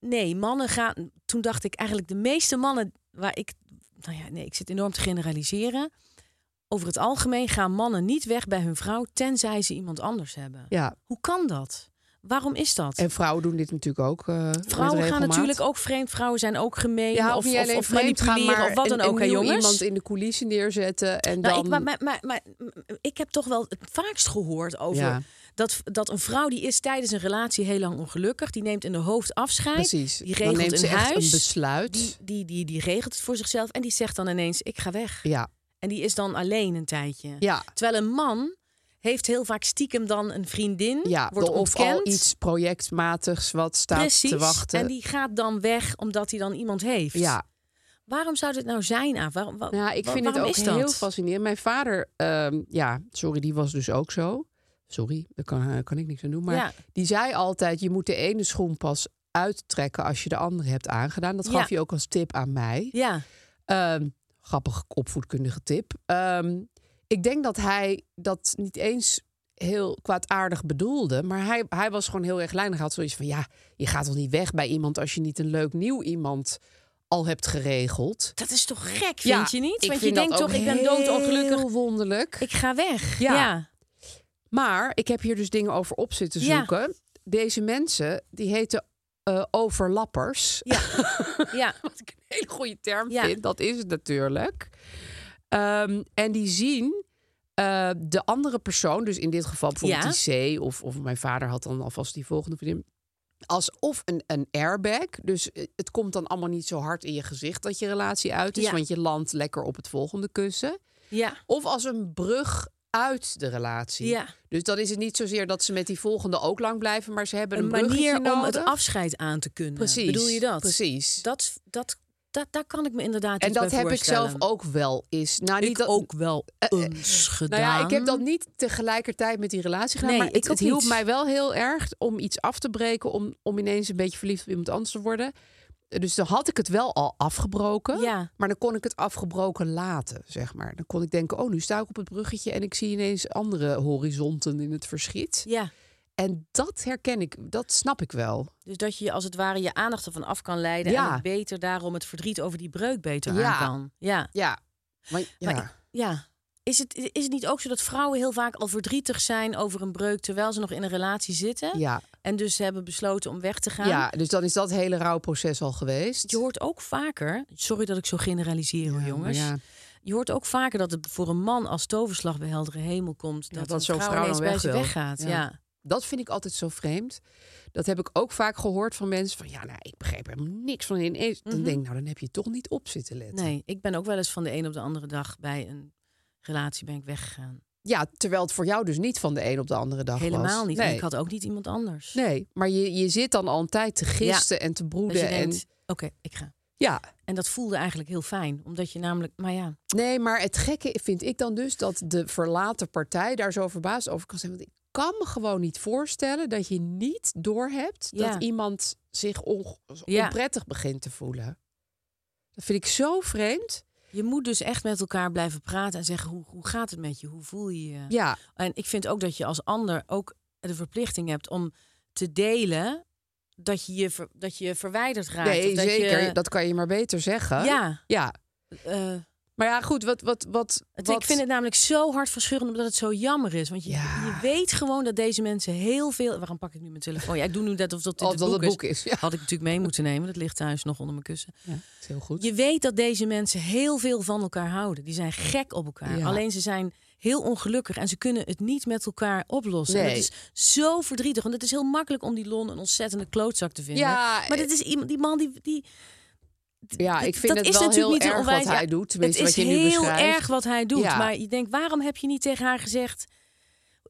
Nee, mannen gaan. Toen dacht ik eigenlijk de meeste mannen waar ik. Nou ja, nee, ik zit enorm te generaliseren. Over het algemeen gaan mannen niet weg bij hun vrouw tenzij ze iemand anders hebben. ja. Hoe kan dat? Waarom is dat? En vrouwen doen dit natuurlijk ook. eh, met Vrouwen gaan regelmaat. natuurlijk ook vreemd. Vrouwen zijn ook gemeen. Ja, of, of niet of, alleen of vreemd gaan, manipuleren maar of wat dan een- ook, een hè nieuw jongens? iemand in de coulissen neerzetten en Nou, dan... ik, maar, maar, maar, maar- maar ik heb toch wel het vaakst gehoord over Ja. dat, dat een vrouw die is tijdens een relatie heel lang ongelukkig, die neemt in de hoofd afscheid, Precies. die dan regelt neemt ze een echt huis, een besluit. die, die, die, die regelt het voor zichzelf en die zegt dan ineens: Ik ga weg. Ja. En die is dan alleen een tijdje. Ja. Terwijl een man heeft heel vaak stiekem dan een vriendin, Ja, Hm? wordt dan of ontkend. al iets projectmatigs wat staat Precies. te wachten. En die gaat dan weg omdat hij dan iemand heeft. Ja, Waarom zou dit nou zijn, Aaf? Waarom, wa- Nou, ik wa- vind het waarom ook is dat? heel fascinerend. Mijn vader, ehm, ja, sorry, die was dus ook zo. Sorry, daar kan, eh, kan ik niks aan doen. Maar Ja. die zei altijd: je moet de ene schoen pas uittrekken als je de andere hebt aangedaan. Dat gaf Ja. je ook als tip aan mij. Ja, Ehm, grappige opvoedkundige tip. Ehm, ik denk dat hij dat niet eens heel kwaadaardig bedoelde. Maar hij, hij was gewoon heel erg lijnig. Hij had zoiets van, ja, je gaat toch niet weg bij iemand... als je niet een leuk nieuw iemand al hebt geregeld. dat is toch gek, vind Ja, je niet? ik Want je vind dat denkt ook toch, ik ben heel doodongelukkig. wonderlijk. Ik ga weg. Ja. <laughs> ja. Maar ik heb hier dus dingen over op zitten Ja. zoeken. Deze mensen, die heten eh, overlappers. ja. Wat ik een hele goede term Ja. vind, dat is het natuurlijk. Ehm, en die zien eh, de andere persoon, dus in dit geval bijvoorbeeld die C... Of, of mijn vader had dan alvast die volgende vriendin... Alsof een, een airbag. Dus eh, het komt dan allemaal niet zo hard in je gezicht dat je relatie uit is. Ja. Want je landt lekker op het volgende kussen. ja. Of als een brug uit de relatie. Ja. Dus dan is het niet zozeer dat ze met die volgende ook lang blijven, maar ze hebben een, Een bruggetje manier om nodig. het afscheid aan te kunnen. Precies. Bedoel je dat? Precies. Dat, dat, dat, daar kan ik me inderdaad en iets dat bij heb ik zelf voorstellen. ook wel eens. Nou, Ik niet dat, ook wel eens gedaan. Nou ja, ik heb dat niet tegelijkertijd met die relatie gedaan. Nee, maar ik het, ook het hielp niet. mij wel heel erg om iets af te breken. Om, om ineens een beetje verliefd op iemand anders te worden. Dus dan had ik het wel al afgebroken. Ja. Maar dan kon ik het afgebroken laten, zeg maar. Dan kon ik denken, oh, nu sta ik op het bruggetje... en ik zie ineens andere horizonten in het verschiet. Ja, En dat herken ik, dat snap ik wel. dus dat je als het ware je aandacht ervan af kan leiden en Ja. het beter daarom het verdriet over die breuk beter Ja. aan kan. Ja, Ja. Maar, ja. Maar ik- ja. Is het, is het niet ook zo dat vrouwen heel vaak al verdrietig zijn over een breuk terwijl ze nog in een relatie zitten? ja. En dus ze hebben besloten om weg te gaan? ja, dus dan is dat hele rouwproces al geweest. Je hoort ook vaker, sorry dat ik zo generaliseer hoor, Ja, jongens. maar ja. Je hoort ook vaker dat het voor een man als toverslag bij heldere hemel komt. Ja, dat dat een zo'n vrouw, vrouw ineens dan bij weg ze wil. weggaat. Ja. Ja. Ja. Dat vind ik altijd zo vreemd. Dat heb ik ook vaak gehoord van mensen van ja, nou, ik begreep er niks van ineens. Dan denk ik, nou, dan heb je toch niet op zitten letten. Mhm. Nee, ik ben ook wel eens van de een op de andere dag bij een relatie ben ik weggegaan. Ja, terwijl het voor jou dus niet van de een op de andere dag was. Helemaal niet. En Nee. ik had ook niet iemand anders. nee, maar je, je zit dan al een tijd te gisten en te Dat je broeden. En, denkt, oké, ik ga. ja, En dat voelde eigenlijk heel fijn. Omdat je namelijk, maar ja, nee, maar het gekke vind ik dan dus dat de verlaten partij daar zo verbaasd over kan zijn. Want ik kan me gewoon niet voorstellen dat je niet doorhebt Ja. dat iemand zich on- Ja. onprettig begint te voelen. Dat vind ik zo vreemd. Je moet dus echt met elkaar blijven praten en zeggen hoe, hoe gaat het met je? Hoe voel je je? Ja, En ik vind ook dat je als ander ook de verplichting hebt om te delen dat je je, ver- dat je verwijderd raakt. nee, of dat zeker. Nou, Je, Dat kan je maar beter zeggen. Ja. ja. eh, Maar ja, goed, wat... wat, wat, het, wat... ik vind het namelijk zo hartverscheurend omdat het zo jammer is. Want je, Ja. je weet gewoon dat deze mensen heel veel... Waarom pak ik nu mijn telefoon? Ja, ik doe nu net of dat dit Of het dat boek, het boek is, ja. Had ik natuurlijk mee moeten nemen. Dat ligt thuis nog onder mijn kussen. Ja, het is heel goed. Je weet dat deze mensen heel veel van elkaar houden. Die zijn gek op elkaar. Ja. Alleen ze zijn heel ongelukkig en ze kunnen het niet met elkaar oplossen. En Nee. dat is zo verdrietig. Want het is heel makkelijk om die Lon een ontzettende klootzak te vinden. Ja, maar dit is iemand, die man die. die Ja, dat- ik vind dat het is wel heel natuurlijk niet erg een onwijs- wat hij ja, doet. Het Tenminste, is wat je nu heel beschrijft. erg wat hij doet. Ja. Maar je denkt, waarom heb je niet tegen haar gezegd?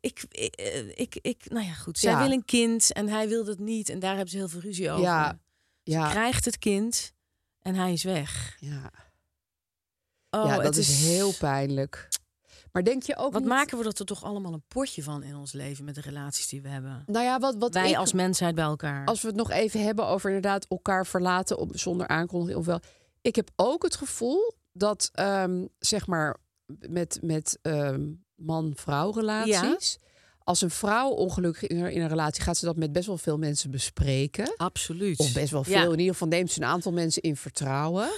Ik, ik, eh, ik, ik nou ja, goed. Zij Ja. wil een kind en hij wil dat niet. En daar hebben ze heel veel ruzie over. Ja, ja, Krijgt het kind en hij is weg. ja. Oh, ja, het dat is... heel pijnlijk. Maar denk je ook Wat niet... maken we dat er toch allemaal een potje van in ons leven met de relaties die we hebben? Nou ja, wat, wat Wij ik- als mensheid bij elkaar. als we het nog even hebben over inderdaad elkaar verlaten op, zonder aankondiging. Ofwel, ik heb ook het gevoel dat, ehm, zeg maar, met, met ehm, man-vrouw relaties. Als een vrouw ongelukkig in een, in een relatie gaat ze dat met best wel veel mensen bespreken. Absoluut. Of best wel veel. Ja. In ieder geval neemt ze een aantal mensen in vertrouwen.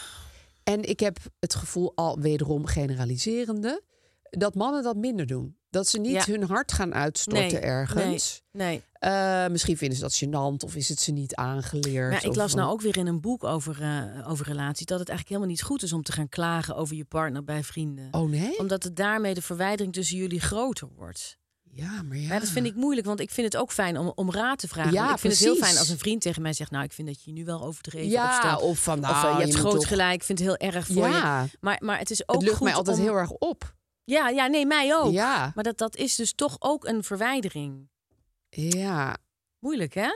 En ik heb het gevoel, al wederom generaliserende, dat mannen dat minder doen. Dat ze niet Ja. hun hart gaan uitstorten Nee, ergens. Nee. nee. Eh, misschien vinden ze dat gênant of is het ze niet aangeleerd. Maar ik of las van- nou ook weer in een boek over, eh, over relaties dat het eigenlijk helemaal niet goed is om te gaan klagen over je partner bij vrienden. Oh nee? Omdat het daarmee de verwijdering tussen jullie groter wordt. Ja, maar ja. Ja, dat vind ik moeilijk, want ik vind het ook fijn om, om raad te vragen. Ja, Want ik vind het heel precies. fijn als een vriend tegen mij zegt: Nou, ik vind dat je nu wel overdreven Ja, opstelt. of van, eh, nou, je je hebt moet groot toch- gelijk, ik vind het heel erg voor Ja. je. Maar, maar het is ook Het lucht goed mij altijd om- heel erg op. Ja, ja, nee, mij ook. Ja. Maar dat, dat is dus toch ook een verwijdering. Ja. Moeilijk, hè?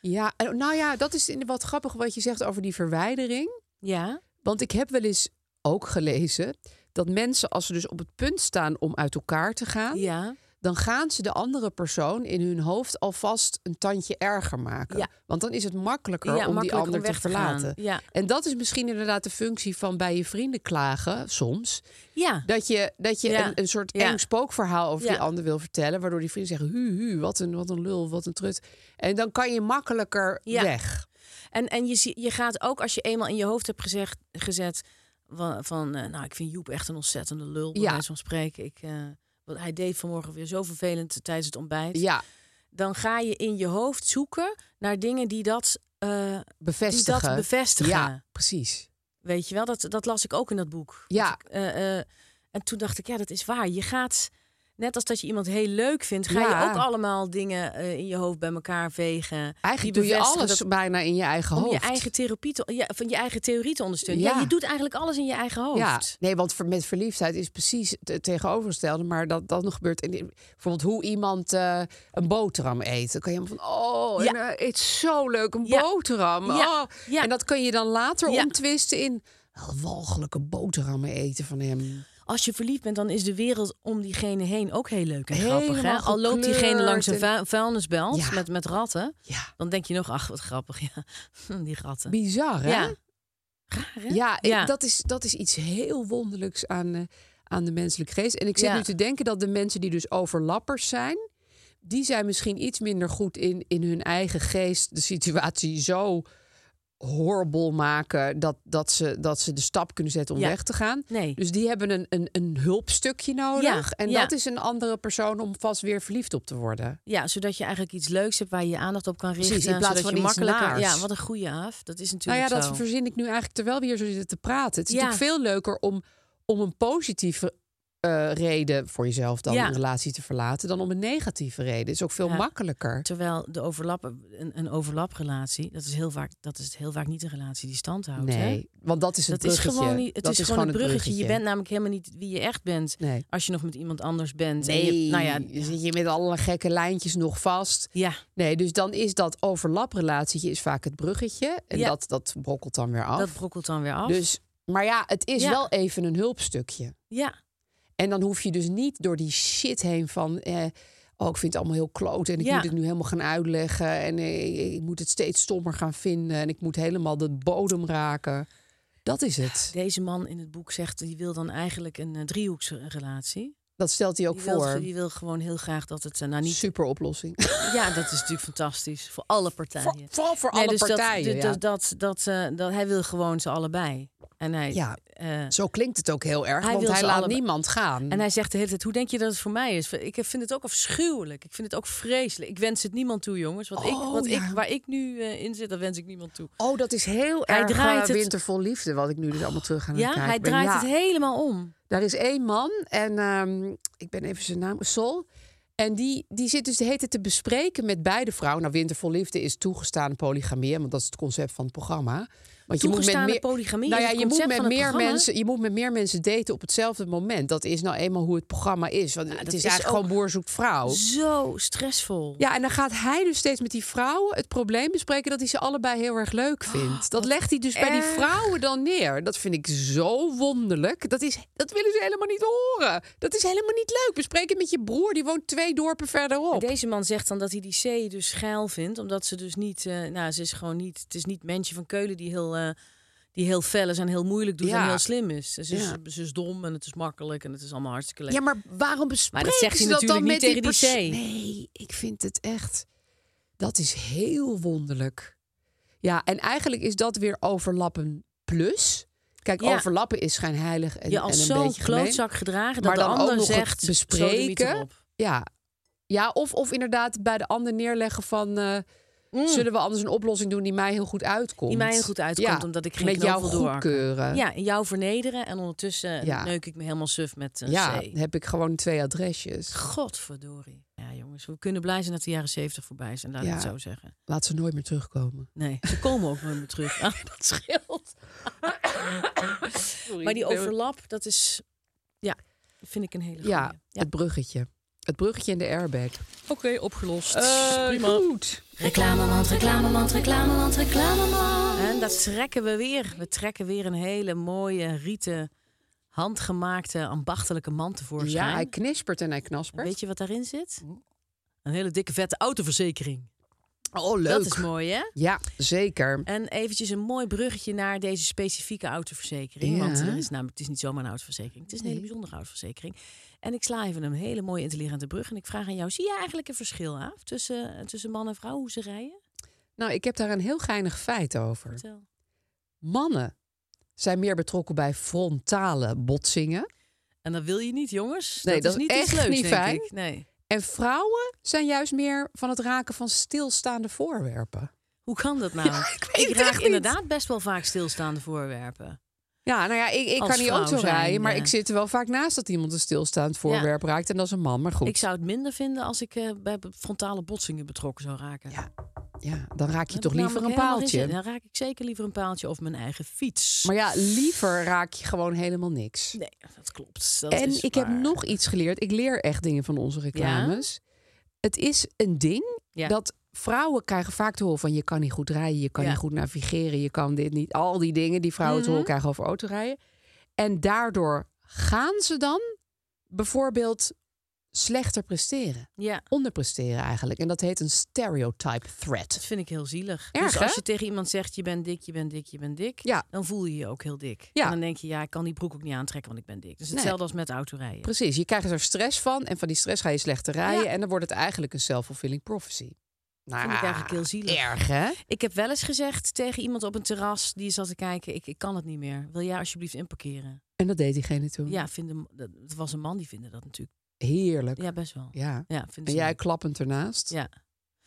Ja, en nou ja, dat is in- wat grappig wat je zegt over die verwijdering. Ja. Want ik heb wel eens ook gelezen dat mensen, als ze dus op het punt staan om uit elkaar te gaan, Ja. dan gaan ze de andere persoon in hun hoofd alvast een tandje erger maken. Ja. Want dan is het makkelijker Ja, om makkelijker die om ander weg te te gaan. verlaten. Ja. En dat is misschien inderdaad de functie van bij je vrienden klagen soms. Ja. Dat je, dat je Ja. een, een soort Ja. eng spookverhaal over die Ja. ander wil vertellen. Waardoor die vrienden zeggen, hu, hu, wat een, wat een lul, wat een trut. En dan kan je makkelijker Ja. weg. En, en je, zie- je gaat ook, als je eenmaal in je hoofd hebt gezegd, gezet van, van eh, nou, ik vind Joep echt een ontzettende lul, bij Ja. wijze van spreken. Ik, eh, want hij deed vanmorgen weer zo vervelend tijdens het ontbijt. Ja, Dan ga je in je hoofd zoeken naar dingen die dat, eh, die bevestigen. dat bevestigen. Ja, precies. Weet je wel, dat, dat las ik ook in dat boek. Ja. Dat ik, eh, eh, en toen dacht ik, ja, dat is waar. Je gaat, net als dat je iemand heel leuk vindt, ga Ja. je ook allemaal dingen eh, in je hoofd bij elkaar vegen. Eigenlijk Die doe je bevestigen alles dat- bijna in je eigen om hoofd. je eigen therapie te, ja, van je eigen theorie te ondersteunen. Ja. Ja. je doet eigenlijk alles in je eigen hoofd. Ja, nee, want ver- met verliefdheid is precies het tegenovergestelde. Maar dat dat nog gebeurt. En, bijvoorbeeld hoe iemand eh, een boterham eet. Dan kan je helemaal van, oh, Ja. en, eh, het is zo leuk, een Ja. boterham. Ja. Oh. Ja. En dat kun je dan later Ja. omtwisten in wel walgelijke boterhammen eten van hem. Als je verliefd bent, dan is de wereld om diegene heen ook heel leuk en grappig. Hè? Helemaal Al loopt gekleurd diegene langs een en- vu- vuilnisbelt Ja. met, met ratten, Ja, dan denk je nog, ach, wat grappig. Ja. <laughs> Die ratten. bizar, hè? Ja. Raar, hè? Ja, ik- Dat, is, dat is iets heel wonderlijks aan, eh, aan de menselijke geest. En ik zit Ja. nu te denken dat de mensen die dus overlappers zijn, die zijn misschien iets minder goed in, in hun eigen geest de situatie zo horrible maken dat, dat, ze, dat ze de stap kunnen zetten om Ja. weg te gaan. Nee. Dus die hebben een, een, een hulpstukje nodig. Ja, En ja. dat is een andere persoon om vast weer verliefd op te worden. Ja, zodat je eigenlijk iets leuks hebt waar je je aandacht op kan richten. Precies, in plaats zodat van je iets naars. Ja, wat een goede af. Dat is Nou ja, natuurlijk dat zo. verzin ik nu eigenlijk terwijl we hier zo zitten te praten. Het is Ja. natuurlijk veel leuker om, om een positieve eh, reden voor jezelf dan Ja. een relatie te verlaten dan om een negatieve reden. is ook veel Ja. makkelijker. Terwijl de overlappen, een, een overlaprelatie, dat is, heel vaak, dat is heel vaak niet een relatie die stand houdt. hè? Nee, want dat is het Dat is bruggetje. gewoon, niet, het Dat is gewoon een het bruggetje. Je bent namelijk helemaal niet wie je echt bent Nee. als je nog met iemand anders bent. En Nee, je, nou ja, zit je met alle gekke lijntjes nog vast. ja, Nee, dus dan is dat overlaprelatietje is vaak het bruggetje. En Ja. dat, dat brokkelt dan weer af. dat brokkelt dan weer af. Dus, maar ja, het is Ja. wel even een hulpstukje. ja, En dan hoef je dus niet door die shit heen van... Eh, oh, ik vind het allemaal heel kloot en ik Ja. moet het nu helemaal gaan uitleggen... en eh, ik moet het steeds stommer gaan vinden en ik moet helemaal de bodem raken. Dat is het. Deze man in het boek zegt, die wil dan eigenlijk een eh, driehoeksrelatie. Dat stelt hij ook Die voor. wil, die wil gewoon heel graag dat het... eh, Nou, niet, Super oplossing. Ja, dat is natuurlijk fantastisch. Voor alle partijen. Voor- <laughs> vooral voor Nee, alle dus dat- Dat, partijen. ja. dat, dat, dat, eh, dat- hij wil gewoon ze allebei. En hij, Ja. eh, Zo klinkt het ook heel erg, Hij want wil hij ze laat allebei. niemand gaan. en hij zegt de hele tijd, hoe denk je dat het voor mij is? Ik vind het ook afschuwelijk. Ik vind het ook vreselijk. Ik wens het niemand toe, jongens. Wat ik, Oh, wat ja. ik, waar ik nu eh, in zit, dat wens ik niemand toe. Oh, dat is heel Hij erg draait eh, het- winter vol liefde, wat ik nu dus allemaal terug aan het Ja, kijken hij ben. draait Ja. het helemaal om. Daar is één man en ehm, ik ben even zijn naam, Sol. En die, die zit dus de hele tijd te bespreken met beide vrouwen. Nou, Winter vol Liefde is toegestaan polygamie, hè, want dat is het concept van het programma. Want Toegestane polygamie nou is ja, het je moet concept met van het meer programma? mensen, je moet met meer mensen daten op hetzelfde moment. Dat is nou eenmaal hoe het programma is. Want het dat is, is eigenlijk ook- gewoon boer zoekt vrouw. Zo stressvol. Oh. Ja, en dan gaat hij dus steeds met die vrouwen het probleem bespreken dat hij ze allebei heel erg leuk vindt. dat legt hij dus bij die erg. vrouwen dan neer. Dat vind ik zo wonderlijk. Dat, is, dat willen ze helemaal niet horen. Dat is helemaal niet leuk. Bespreek het met je broer, die woont twee dorpen verderop. En Deze man zegt dan dat hij die C dus geil vindt, omdat ze dus niet, eh, nou, ze is gewoon niet, het is niet mensje van Keulen die heel, eh, die heel fel is en heel moeilijk doet Ja. en heel slim is. Ze, is. Ja. ze is dom en het is makkelijk en het is allemaal hartstikke leuk. Ja, maar waarom bespreken dat zegt ze hij dat dan natuurlijk met niet die tegen die pers- Nee, ik vind het echt... Dat is heel wonderlijk. Ja, en eigenlijk is dat weer overlappen plus. Kijk, Ja. overlappen is schijnheilig en, je en als een zo'n beetje gemeen. klootzak gedragen dat Maar de dan ook ander nog het zegt, zo bespreken. erop. Ja, ja of, of inderdaad bij de ander neerleggen van... eh, Zullen we anders een oplossing doen die mij heel goed uitkomt? Mm. Die mij heel goed uitkomt, Ja, omdat ik geen Met knoop jouw wil doorhakken. goedkeuren. Ja, en jou vernederen en ondertussen Ja. neuk ik me helemaal suf met eh, een Ja, C. heb ik gewoon twee adresjes. Godverdorie. Ja, jongens, we kunnen blij zijn dat de jaren zeventig voorbij zijn, laat ik Ja. het zo zeggen. Laat ze nooit meer terugkomen. Nee, ze komen ook nooit meer <laughs> terug. Ah, dat scheelt. maar die overlap, dat is... Ja, vind ik een hele goeie. Ja, het bruggetje. Het bruggetje en de airbag. Oké, opgelost. Eh, Goed. Reclamemand, reclamemand, reclamemand, reclamemand. En dat trekken we weer. We trekken weer een hele mooie, rieten, handgemaakte, ambachtelijke man Ja, Hm? hij tevoorschijn. knispert en hij En knaspert. Weet je wat daarin zit? Een hele dikke, vette autoverzekering. Oh, leuk. Dat is mooi, hè? Ja, zeker. En eventjes een mooi bruggetje naar deze specifieke autoverzekering. Ja. Want er is namelijk, het is niet zomaar een autoverzekering. Het is een hele Nee. bijzondere autoverzekering. En ik sla even een hele mooie intelligente brug. En ik vraag aan jou, zie je eigenlijk een verschil af tussen, tussen man en vrouw, hoe ze rijden? Nou, ik heb daar een heel geinig feit over. Vertel. Mannen zijn meer betrokken bij frontale botsingen. En dat wil je niet, jongens. Nee, dat dat is niet is iets echt leuks, niet denk fijn. ik. Nee. En vrouwen zijn juist meer van het raken van stilstaande voorwerpen. Hoe kan dat nou? Ja, ik weet het raak echt niet. inderdaad best wel vaak stilstaande voorwerpen. Ja, nou ja, ik, ik Als kan niet vrouw auto zijn, rijden, maar eh. ik zit er wel vaak naast dat iemand een stilstaand voorwerp raakt. En dat is een man, maar goed. Ik zou het minder vinden als ik eh, bij frontale botsingen betrokken zou raken. Ja, ja, dan raak je Dan heb ik toch liever een namelijk helemaal geen paaltje. zin. Dan raak ik zeker liever een paaltje of mijn eigen fiets. Maar ja, liever raak je gewoon helemaal niks. Nee, dat klopt. Dat en is ik waar. heb nog iets geleerd. Ik leer echt dingen van onze reclames. Het is een ding Ja. dat vrouwen krijgen vaak te horen van je kan niet goed rijden, je kan Ja. Mhm. niet goed navigeren, je kan dit niet. Al die dingen die vrouwen te horen krijgen over autorijden. En daardoor gaan ze dan bijvoorbeeld slechter presteren. Ja, Onderpresteren eigenlijk. En dat heet een stereotype threat. dat vind ik heel zielig. Erg, dus als hè? je tegen iemand zegt, je bent dik, je bent dik, je bent dik... Ja. dan voel je je ook heel dik. Ja. En dan denk je, ja, ik kan die broek ook niet aantrekken, want ik ben dik. Dus Nee. hetzelfde als met autorijden. Precies, je krijgt er stress van en van die stress ga je slechter rijden. Ja. En dan wordt het eigenlijk een self-fulfilling prophecy. Nou, Vind ik eigenlijk heel zielig. Erg, hè? Ik heb wel eens gezegd tegen iemand op een terras die zat te kijken... ik, ik kan het niet meer, wil jij alsjeblieft inparkeren? En dat deed diegene toen. Ja, vinden, dat- het was een man die vinden dat natuurlijk. Heerlijk. Ja, best wel. Ja. Ja, vinden En ze jij leuk. klappend ernaast. Ja.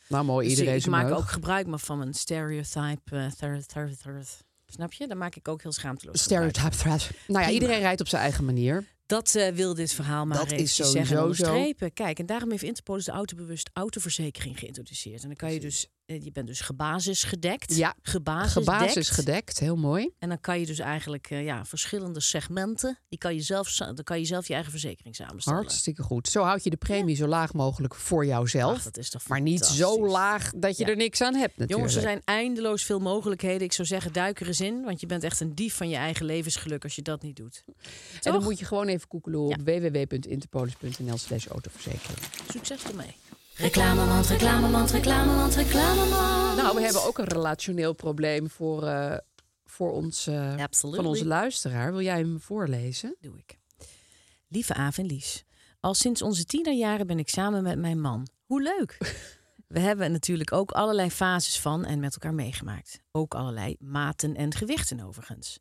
Nou, mooi, Dus iedereen ik zijn maak meug. ook gebruik maar van een stereotype. eh, thir- thir- thir- snap je? Daar maak ik ook heel schaamteloos gebruik van. Stereotype threat. Nou ja, iedereen rijdt op zijn eigen manier. Dat eh, wil dit verhaal maar Dat is eventjes sowieso zeggen en zo. onderstrepen. Kijk, en daarom heeft Interpol dus de autobewust autoverzekering geïntroduceerd. En dan kan je dus, eh, je bent dus gebasisgedekt. Ja, gebasisdekt. Gebasis gedekt, heel mooi. En dan kan je dus eigenlijk eh, ja, verschillende segmenten, die kan je zelf, za- dan kan je zelf je eigen verzekering samenstellen. Hartstikke goed. Zo houd je de premie zo laag mogelijk voor jouzelf. Ach, dat is toch maar niet zo fantastisch. laag dat je Ja. er niks aan hebt natuurlijk. Jongens, er zijn eindeloos veel mogelijkheden. Ik zou zeggen, duik er eens in. Want je bent echt een dief van je eigen levensgeluk als je dat niet doet. en dan Toch? moet je gewoon even koekelen op www.interpolis.nl slash autoverzekering. Succes ermee. Reclamemand, reclamemand, reclamemand, reclamemand. Nou, we hebben ook een relationeel probleem voor, eh, voor ons, eh, Absolutely. van onze luisteraar. Wil jij hem voorlezen? doe ik. Lieve Aaf en Lies, al sinds onze tienerjaren ben ik samen met mijn man. Hoe leuk! We hebben natuurlijk ook allerlei fases van en met elkaar meegemaakt. Ook allerlei maten en gewichten overigens.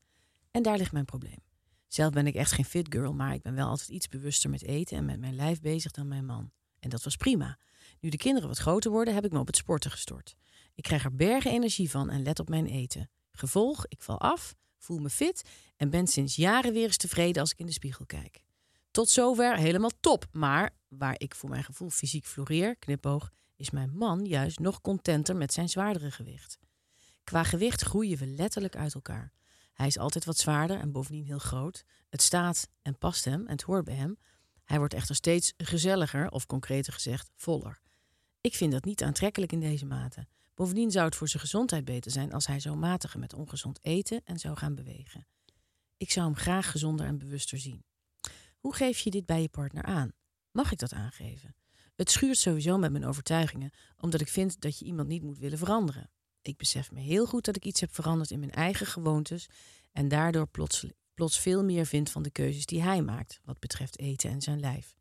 En daar ligt mijn probleem. Zelf ben ik echt geen fit girl, maar ik ben wel altijd iets bewuster met eten en met mijn lijf bezig dan mijn man. En dat was prima. Nu de kinderen wat groter worden, heb ik me op het sporten gestort. Ik krijg er bergen energie van en let op mijn eten. Gevolg, ik val af, voel me fit en ben sinds jaren weer eens tevreden als ik in de spiegel kijk. Tot zover helemaal top, maar waar ik voor mijn gevoel fysiek floreer, knipoog, is mijn man juist nog contenter met zijn zwaardere gewicht. Qua gewicht groeien we letterlijk uit elkaar. Hij is altijd wat zwaarder en bovendien heel groot. Het staat en past hem en het hoort bij hem. Hij wordt echter steeds gezelliger, of concreter gezegd, voller. Ik vind dat niet aantrekkelijk in deze mate. Bovendien zou het voor zijn gezondheid beter zijn als hij zou matigen met ongezond eten en zou gaan bewegen. Ik zou hem graag gezonder en bewuster zien. Hoe geef je dit bij je partner aan? Mag ik dat aangeven? Het schuurt sowieso met mijn overtuigingen, omdat ik vind dat je iemand niet moet willen veranderen. Ik besef me heel goed dat ik iets heb veranderd in mijn eigen gewoontes en daardoor plots, plots veel meer vind van de keuzes die hij maakt wat betreft eten en zijn lijf.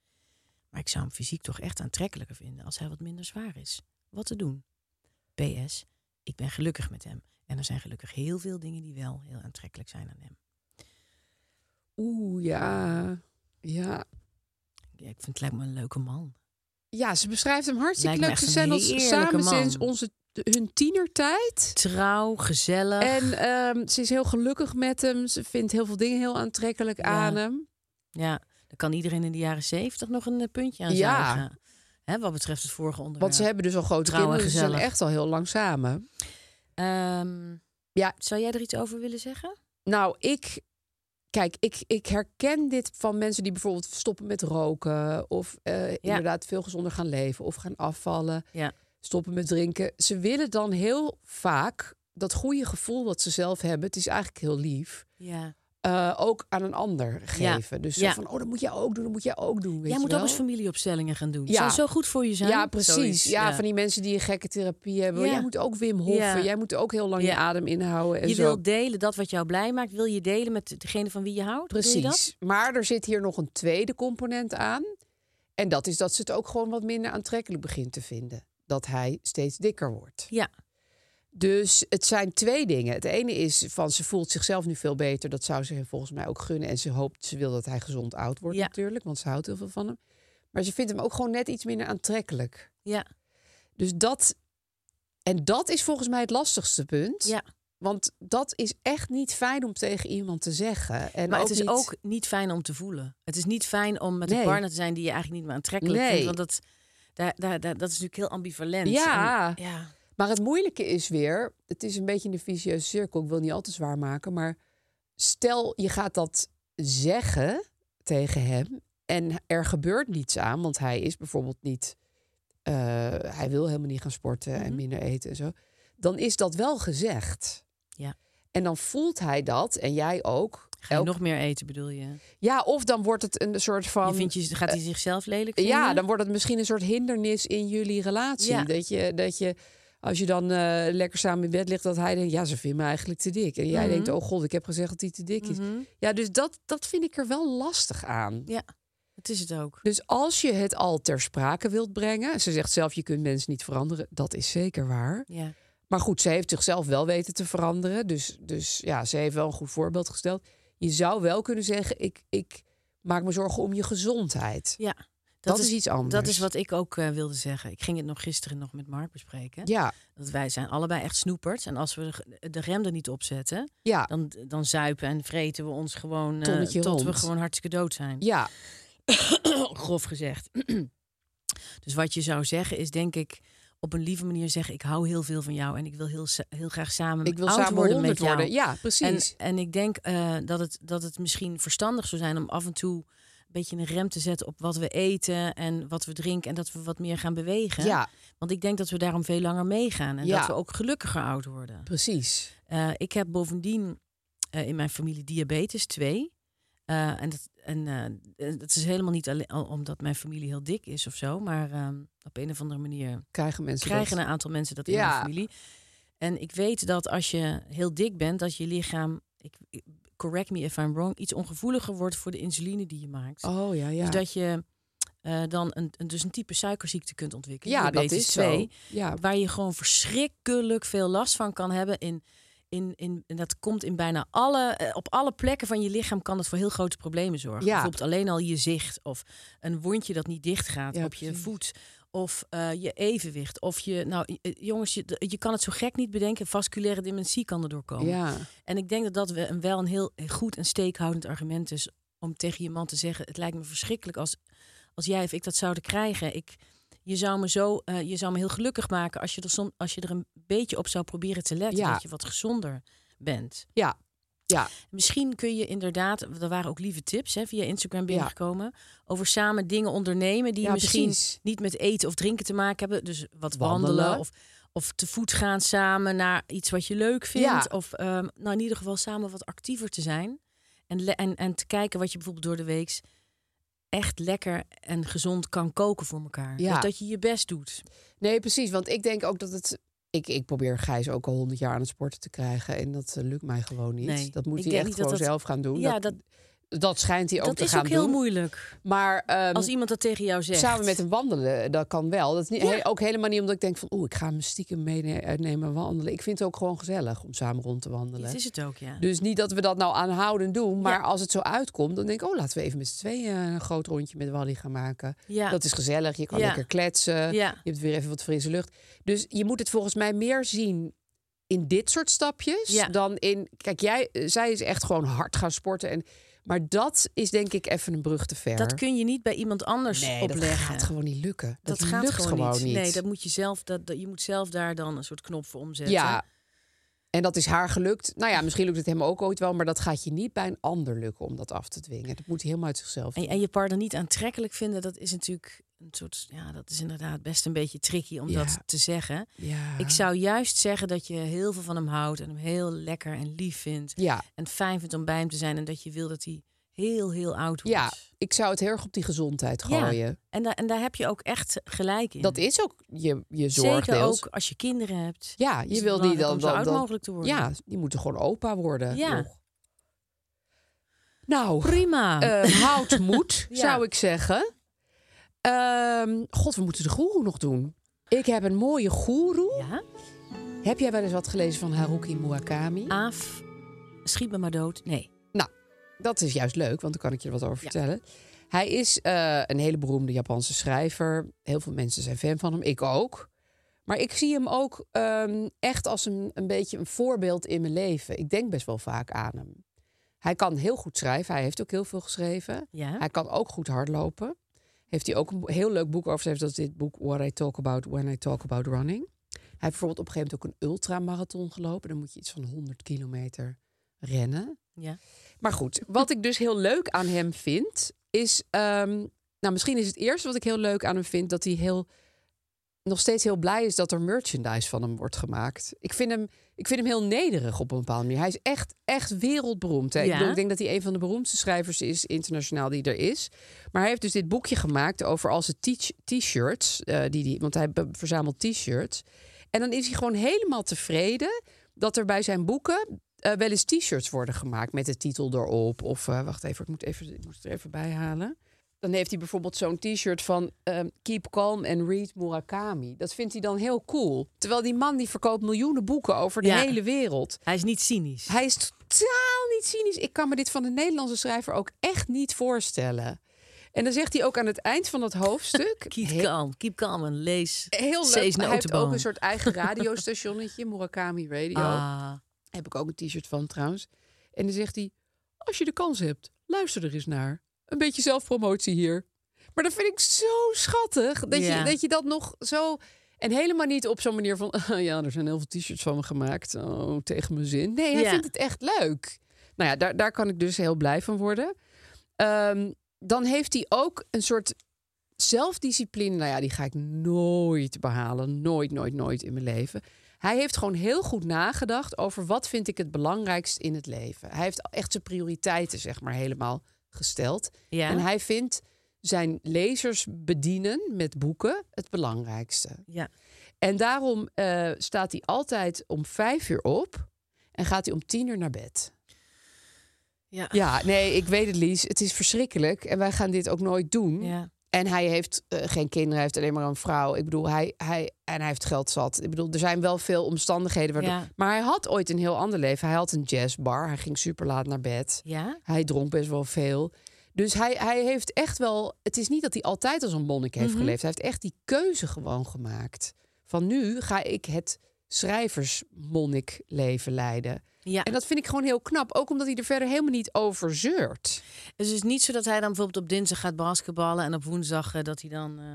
Maar ik zou hem fysiek toch echt aantrekkelijker vinden als hij wat minder zwaar is. Wat te doen? PS, ik ben gelukkig met hem en er zijn gelukkig heel veel dingen die wel heel aantrekkelijk zijn aan hem. Oeh, ja. Ja, Ja, ik vind het lijkt me een leuke man. ja ze beschrijft hem hartstikke Lijkt me leuk. Ze echt zijn een al heerlijke samen man. sinds onze, hun tienertijd. Trouw, gezellig. En ehm, ze is heel gelukkig met hem. Ze vindt heel veel dingen heel aantrekkelijk aan hem. Ja, dan kan iedereen in de jaren zeventig nog een eh, puntje aan Ja. zuigen. Hè, wat betreft het vorige onderwerp. Want ze hebben dus al grote Trouw en kinderen. Ze zijn gezellig. echt al heel lang samen. Ehm, Ja. Zou jij er iets over willen zeggen? Nou, ik... Kijk, ik, ik herken dit van mensen die bijvoorbeeld stoppen met roken... of eh, inderdaad veel gezonder gaan leven of gaan afvallen. Ja. stoppen met drinken. Ze willen dan heel vaak dat goede gevoel wat ze zelf hebben. Het is eigenlijk heel lief. Ja. eh, ook aan een ander Ja. geven. Dus zo Ja. van, oh, dat moet jij ook doen, dat moet jij ook doen. Weet jij je moet wel? ook eens familieopstellingen gaan doen. Ja. Zou zo goed voor je zijn? Ja, precies. Zoiets, Ja, van die mensen die een gekke therapie hebben. Ja. Jij moet ook Wim Hoffen. Ja. Jij moet ook heel lang je Ja. adem inhouden. En Je zo. wil delen dat wat jou blij maakt. Wil je delen met degene van wie je houdt? Wil je dat? Precies. Maar er zit hier nog een tweede component aan. En dat is dat ze het ook gewoon wat minder aantrekkelijk begint te vinden. Dat hij steeds dikker wordt. Ja. Dus het zijn twee dingen. Het ene is van ze voelt zichzelf nu veel beter. Dat zou ze hem volgens mij ook gunnen. En ze hoopt, ze wil dat hij gezond oud wordt Ja. natuurlijk. Want ze houdt heel veel van hem. Maar ze vindt hem ook gewoon net iets minder aantrekkelijk. Ja. Dus dat. En dat is volgens mij het lastigste punt. ja. Want dat is echt niet fijn om tegen iemand te zeggen. En maar het is niet- ook niet fijn om te voelen. Het is niet fijn om met Nee. een partner te zijn die je eigenlijk niet meer aantrekkelijk Nee. vindt. Want dat, daar, daar, daar- dat is natuurlijk heel ambivalent. Ja. En- ja. Maar het moeilijke is weer, het is een beetje een vicieuze cirkel. Ik wil niet al te zwaar maken, maar stel je gaat dat zeggen tegen hem en er gebeurt niets aan, want hij is bijvoorbeeld niet, eh, hij wil helemaal niet gaan sporten Mhm. en minder eten en zo, dan is dat wel gezegd. Ja. En dan voelt hij dat en jij ook. Ga je Elk- nog meer eten, bedoel je? Ja, of dan wordt het een soort van. je, vindt je gaat hij zichzelf lelijk vinden? Ja, dan wordt het misschien een soort hindernis in jullie relatie. Ja. Dat, je, dat je, als je dan eh, lekker samen in bed ligt, dat hij denkt, ja, ze vindt me eigenlijk te dik. En jij Mhm. denkt, oh god, ik heb gezegd dat hij te dik is. Ja, dus dat, dat vind ik er wel lastig aan. Ja, dat is het ook. Dus als je het al ter sprake wilt brengen, ze zegt zelf, je kunt mensen niet veranderen. Dat is zeker waar. Ja. Maar goed, ze heeft zichzelf wel weten te veranderen. Dus, dus ja, ze heeft wel een goed voorbeeld gesteld. Je zou wel kunnen zeggen, ik, ik maak me zorgen om je gezondheid. ja. Dat is iets Dat is anders. wat ik ook eh, wilde zeggen. Ik ging het nog gisteren nog met Mark bespreken. Ja, Dat wij zijn allebei echt snoepers. En als we de, de rem er niet op zetten, ja. dan, dan zuipen en vreten we ons gewoon eh, Ah. Tonnetje tot we rond. gewoon hartstikke dood zijn. Ja, <clears throat> grof gezegd. <clears throat> dus wat je zou zeggen is, denk ik, op een lieve manier zeggen: ik hou heel veel van jou en ik wil heel, sa- heel graag samen ik wil oud samen worden 100 met jou. worden. Ja, en, precies. en ik denk eh, dat, het, dat het misschien verstandig zou zijn om af en toe een beetje een rem te zetten op wat we eten en wat we drinken en dat we wat meer gaan bewegen. ja, Want ik denk dat we daarom veel langer meegaan en Ja. dat we ook gelukkiger oud worden. precies. Eh, ik heb bovendien eh, in mijn familie diabetes 2. Eh, en dat, en eh, eh, dat is helemaal niet alleen al- omdat mijn familie heel dik is of zo. Maar ehm, op een of andere manier Krijgen mensen krijgen dat? een aantal mensen dat in Ja. mijn familie. En ik weet dat als je heel dik bent, dat je lichaam, ik, ik- correct me if I'm wrong, iets ongevoeliger wordt voor de insuline die je maakt. Oh ja, ja. Dus dat je eh, dan een, een- dus een type suikerziekte kunt ontwikkelen. ja, dat diabetes is 2, zo. Ja, Waar je gewoon verschrikkelijk veel last van kan hebben. In, in, in, en dat komt in bijna alle, eh, op alle plekken van je lichaam kan het voor heel grote problemen zorgen. Ja. Bijvoorbeeld alleen al je zicht of een wondje dat niet dicht gaat Ja, op je precies. voet. Of eh, je evenwicht. Of je, nou eh, jongens, je, je kan het zo gek niet bedenken. Vasculaire dementie kan erdoor komen. ja. En ik denk dat dat we- een- wel een heel goed en steekhoudend argument is om tegen je man te zeggen: Het lijkt me verschrikkelijk als, als jij of ik dat zouden krijgen. Ik, je, zou me zo, eh, je zou me heel gelukkig maken als je, er som, als je er een beetje op zou proberen te letten. Ja. Dat je wat gezonder bent. ja. ja. Misschien kun je inderdaad, er waren ook lieve tips hè, via Instagram Ja. binnengekomen. Over samen dingen ondernemen die Ja, misschien precies. niet met eten of drinken te maken hebben. Dus wat wandelen, Wandelen. of, of te voet gaan samen naar iets wat je leuk vindt. Ja. Of ehm, nou in ieder geval samen wat actiever te zijn. En, le- en, en te kijken wat je bijvoorbeeld door de week echt lekker en gezond kan koken voor elkaar. Ja. Dus dat je je best doet. Nee, precies. Want ik denk ook dat het. Ik, ik probeer Gijs ook al honderd jaar aan het sporten te krijgen. En dat eh, lukt mij gewoon niet. Nee, dat moet ik hij denk echt niet dat gewoon dat- zelf gaan doen. ja, dat, dat, dat schijnt hij ook dat te is gaan ook heel doen. moeilijk. Maar ehm, Als iemand dat tegen jou zegt. samen met hem wandelen, dat kan wel. Dat is niet, he- ook helemaal niet omdat ik denk van... oeh, ik ga hem stiekem meenemen eh, wandelen. Ik vind het ook gewoon gezellig om samen rond te wandelen. Dat is het ook, ja. Dus niet dat we dat nou aanhoudend doen. Maar Ja. als het zo uitkomt, dan denk ik... oh, laten we even met z'n tweeën een groot rondje met Wally gaan maken. Ja. Dat is gezellig, je kan Ja. lekker kletsen. Ja. Je hebt weer even wat frisse lucht. Dus je moet het volgens mij meer zien in dit soort stapjes... Ja. dan in... Kijk, jij, eh, zij is echt gewoon hard gaan sporten. En, maar dat is denk ik even een brug te ver. Dat kun je niet bij iemand anders nee, opleggen. dat gaat gewoon niet lukken. Dat, Dat gaat lukt gewoon, gewoon, niet. niet. Nee, dat moet je zelf. Dat, dat- je moet zelf daar dan een soort knop voor omzetten. Ja. En dat is haar gelukt. Nou ja, misschien lukt het hem ook ooit wel, maar dat gaat je niet bij een ander lukken om dat af te dwingen. Dat moet hij helemaal uit zichzelf. En, en je partner niet aantrekkelijk vinden, dat is natuurlijk een soort. Ja, dat is inderdaad best een beetje tricky om Ja. dat te zeggen. Ja. Ik zou juist zeggen dat je heel veel van hem houdt en hem heel lekker en lief vindt. Ja. En fijn vindt om bij hem te zijn en dat je wil dat hij heel, heel oud wordt. ja, ik zou het heel erg op die gezondheid Ja. gooien. En, daar en daar heb je ook echt gelijk in. Dat is ook je, je zorg Zeker deels. ook Dus als je kinderen hebt. Ja, je het wil die belangrijk dan, om zo dan, oud dan- mogelijk te worden. Ja, die moeten gewoon opa worden. Ja. nog. Nou, Prima. eh, <laughs> houd moed, Ja. zou ik zeggen. Ehm, God, we moeten de goeroe nog doen. Ik heb een mooie goeroe. ja? Heb jij wel eens wat gelezen van Haruki Murakami? Aaf, schiet me maar dood. Nee. Nou, dat is juist leuk, want dan kan ik je er wat over vertellen. Hij is eh, een hele beroemde Japanse schrijver. Heel veel mensen zijn fan van hem, ik ook. Maar ik zie hem ook ehm, echt als een, een beetje een voorbeeld in mijn leven. Ik denk best wel vaak aan hem. Hij kan heel goed schrijven, hij heeft ook heel veel geschreven. Ja. Hij kan ook goed hardlopen. Heeft hij ook een bo- heel leuk boek over geschreven. Dat is dit boek What I Talk About When I Talk About Running. Hij heeft bijvoorbeeld op een gegeven moment ook een ultramarathon gelopen. Dan moet je iets van 100 kilometer rennen. Ja. Maar goed, wat ik dus heel leuk aan hem vind, is. ehm, nou, misschien is het eerste wat ik heel leuk aan hem vind, dat hij heel. nog steeds heel blij is dat er merchandise van hem wordt gemaakt. Ik vind hem, ik vind hem heel nederig op een bepaalde manier. Hij is echt, echt wereldberoemd. Hè? Ik, Ja. bedoel, ik denk dat hij een van de beroemdste schrijvers is, internationaal, die er is. Maar hij heeft dus dit boekje gemaakt over al zijn teach- t-shirts. eh, die die, want hij be- verzamelt t-shirts. En dan is hij gewoon helemaal tevreden dat er bij zijn boeken eh, wel eens t-shirts worden gemaakt met de titel erop. Of eh, wacht even, ik moet, even, ik moet het er even bij halen. Dan heeft hij bijvoorbeeld zo'n t-shirt van ehm, Keep Calm and Read Murakami. Dat vindt hij dan heel cool. Terwijl die man die verkoopt miljoenen boeken over de Ja. hele wereld. Hij is niet cynisch. Hij is totaal niet cynisch. Ik kan me dit van een Nederlandse schrijver ook echt niet voorstellen. En dan zegt hij ook aan het eind van dat hoofdstuk... <laughs> Keep he- calm, keep calm en lees. Heel Ze leuk. is een Hij heeft ook autobahn. een soort eigen radiostationnetje, Murakami Radio. Ah, Heb ik ook een t-shirt van trouwens. En dan zegt hij: Als je de kans hebt, luister er eens naar. Een beetje zelfpromotie hier. Maar dat vind ik zo schattig. Dat, Ja. je, dat je dat nog zo. En helemaal niet op zo'n manier van. <laughs> "Ah, ja, er zijn heel veel t-shirts van me gemaakt. Oh, tegen mijn zin. Nee, hij Ja. vindt het echt leuk. Nou ja, daar, daar kan ik dus heel blij van worden. Ehm, dan heeft hij ook een soort zelfdiscipline. Nou ja, die ga ik nooit behalen. Nooit, nooit, nooit in mijn leven. Hij heeft gewoon heel goed nagedacht over wat vind ik het belangrijkst in het leven. Hij heeft echt zijn prioriteiten, zeg maar, helemaal gesteld. Ja. En hij vindt zijn lezers bedienen met boeken het belangrijkste. ja. En daarom eh, staat hij altijd om vijf uur op en gaat hij om tien uur naar bed. Ja. Ja, nee, ik weet het, Lies. Het is verschrikkelijk. En wij gaan dit ook nooit doen. Ja. En hij heeft eh, geen kinderen, hij heeft alleen maar een vrouw. Ik bedoel, hij, hij, en hij heeft geld zat. Ik bedoel, er zijn wel veel omstandigheden. Waardoor, Ja. Maar hij had ooit een heel ander leven. Hij had een jazzbar, hij ging super laat naar bed. Ja? Hij dronk best wel veel. Dus hij, hij heeft echt wel. Het is niet dat hij altijd als een monnik heeft Mhm. geleefd. Hij heeft echt die keuze gewoon gemaakt. Van nu ga ik het schrijversmonnikleven leiden. Ja. En dat vind ik gewoon heel knap. Ook omdat hij er verder helemaal niet over zeurt. Het is dus niet zo dat hij dan bijvoorbeeld op dinsdag gaat basketballen en op woensdag eh, dat hij dan eh,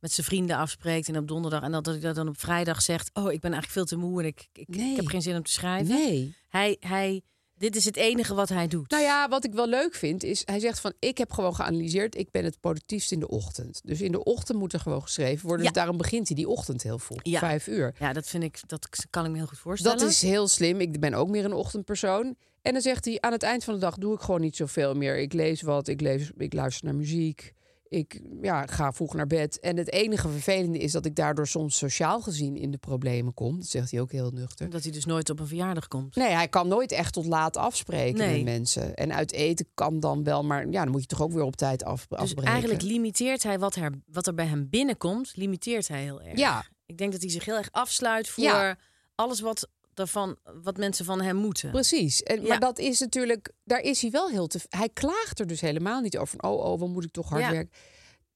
met zijn vrienden afspreekt en op donderdag en dat, dat hij dat dan op vrijdag zegt: Oh, ik ben eigenlijk veel te moe en ik, ik, ik Nee. heb geen zin om te schrijven. Nee. Hij, hij, dit is het enige wat hij doet. Nou ja, wat ik wel leuk vind is, hij zegt van ik heb gewoon geanalyseerd, ik ben het productiefst in de ochtend. Dus in de ochtend moet er gewoon geschreven Ja. worden. Dus daarom begint hij die ochtend heel vroeg, Ja. vijf uur. Ja, dat vind ik, dat kan ik me heel goed voorstellen. Dat is heel slim. Ik ben ook meer een ochtendpersoon. En dan zegt hij, aan het eind van de dag doe ik gewoon niet zoveel meer. Ik lees wat, ik, lees, ik luister naar muziek. Ik ja, ga vroeg naar bed. En het enige vervelende is dat ik daardoor soms sociaal gezien in de problemen kom. Dat zegt hij ook heel nuchter. dat hij dus nooit op een verjaardag komt. Nee, hij kan nooit echt tot laat afspreken Nee. met mensen. En uit eten kan dan wel, maar ja, dan moet je toch ook weer op tijd af, Dus afbreken. eigenlijk limiteert hij wat er, wat er bij hem binnenkomt, limiteert hij heel erg. Ja. Ik denk dat hij zich heel erg afsluit voor Ja. alles wat, daarvan, wat mensen van hem moeten. Precies. En, Ja. Maar dat is natuurlijk, daar is hij wel heel te. Hij klaagt er dus helemaal niet over. Van, oh, oh, wat moet ik toch hard Ja. werken?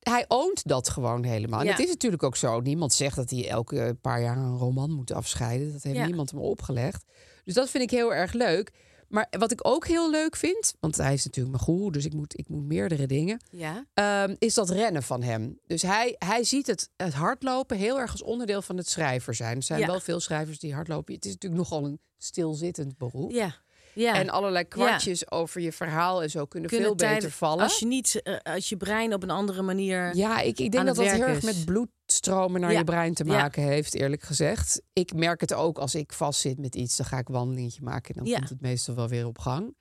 Hij oont dat gewoon helemaal. En Ja. het is natuurlijk ook zo. Niemand zegt dat hij elke paar jaar een roman moet afscheiden. Dat heeft Ja. niemand hem opgelegd. Dus dat vind ik heel erg leuk. Maar wat ik ook heel leuk vind, want hij is natuurlijk mijn goeroe, dus ik moet, ik moet meerdere dingen. Ja. ehm, is dat rennen van hem. Dus hij, hij ziet het, het hardlopen heel erg als onderdeel van het schrijver zijn. Er zijn Ja. wel veel schrijvers die hardlopen. Het is natuurlijk nogal een stilzittend beroep. Ja. ja. En allerlei kwartjes over je verhaal en zo kunnen, Kunnen veel beter tijdens- vallen. Als je, niet, eh, als je brein op een andere manier... Ja, ik, ik denk aan dat het dat heel werk erg is. met bloedstromen naar Ja. je brein te Ja. maken heeft, eerlijk gezegd. Ik merk het ook als ik vastzit met iets, dan ga ik een wandelingetje maken en dan Ja. komt het meestal wel weer op gang.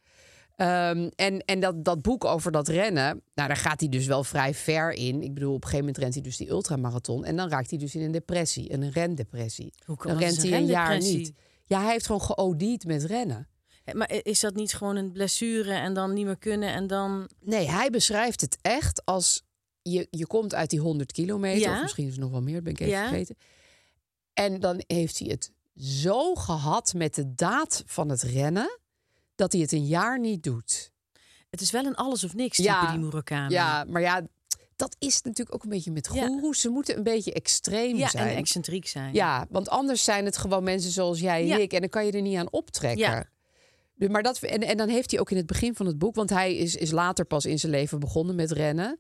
Ehm, en en dat, dat boek over dat rennen, nou, daar gaat hij dus wel vrij ver in. Ik bedoel, op een gegeven moment rent hij dus die ultramarathon en dan raakt hij dus in een depressie, in een rendepressie. Hoe kan- dan wat is rent een hij een jaar rendepressie? niet. Ja, hij heeft gewoon geodied met rennen. Eh, Maar is dat niet gewoon een blessure en dan niet meer kunnen en dan... Nee, hij beschrijft het echt als je, je komt uit die 100 kilometer, Ja. of misschien is het nog wel meer, dat ben ik even Ja. vergeten. En dan heeft hij het zo gehad met de daad van het rennen dat hij het een jaar niet doet. Het is wel een alles of niks type, Ja. die Murakami. Ja, maar ja, dat is natuurlijk ook een beetje met Ja. goeroes. Ze moeten een beetje extreem Ja, zijn. en excentriek zijn. Ja, want anders zijn het gewoon mensen zoals jij en Ja. ik. En dan kan je er niet aan optrekken. Ja. Dus, maar dat, en, en dan heeft hij ook in het begin van het boek... want hij is, is later pas in zijn leven begonnen met rennen.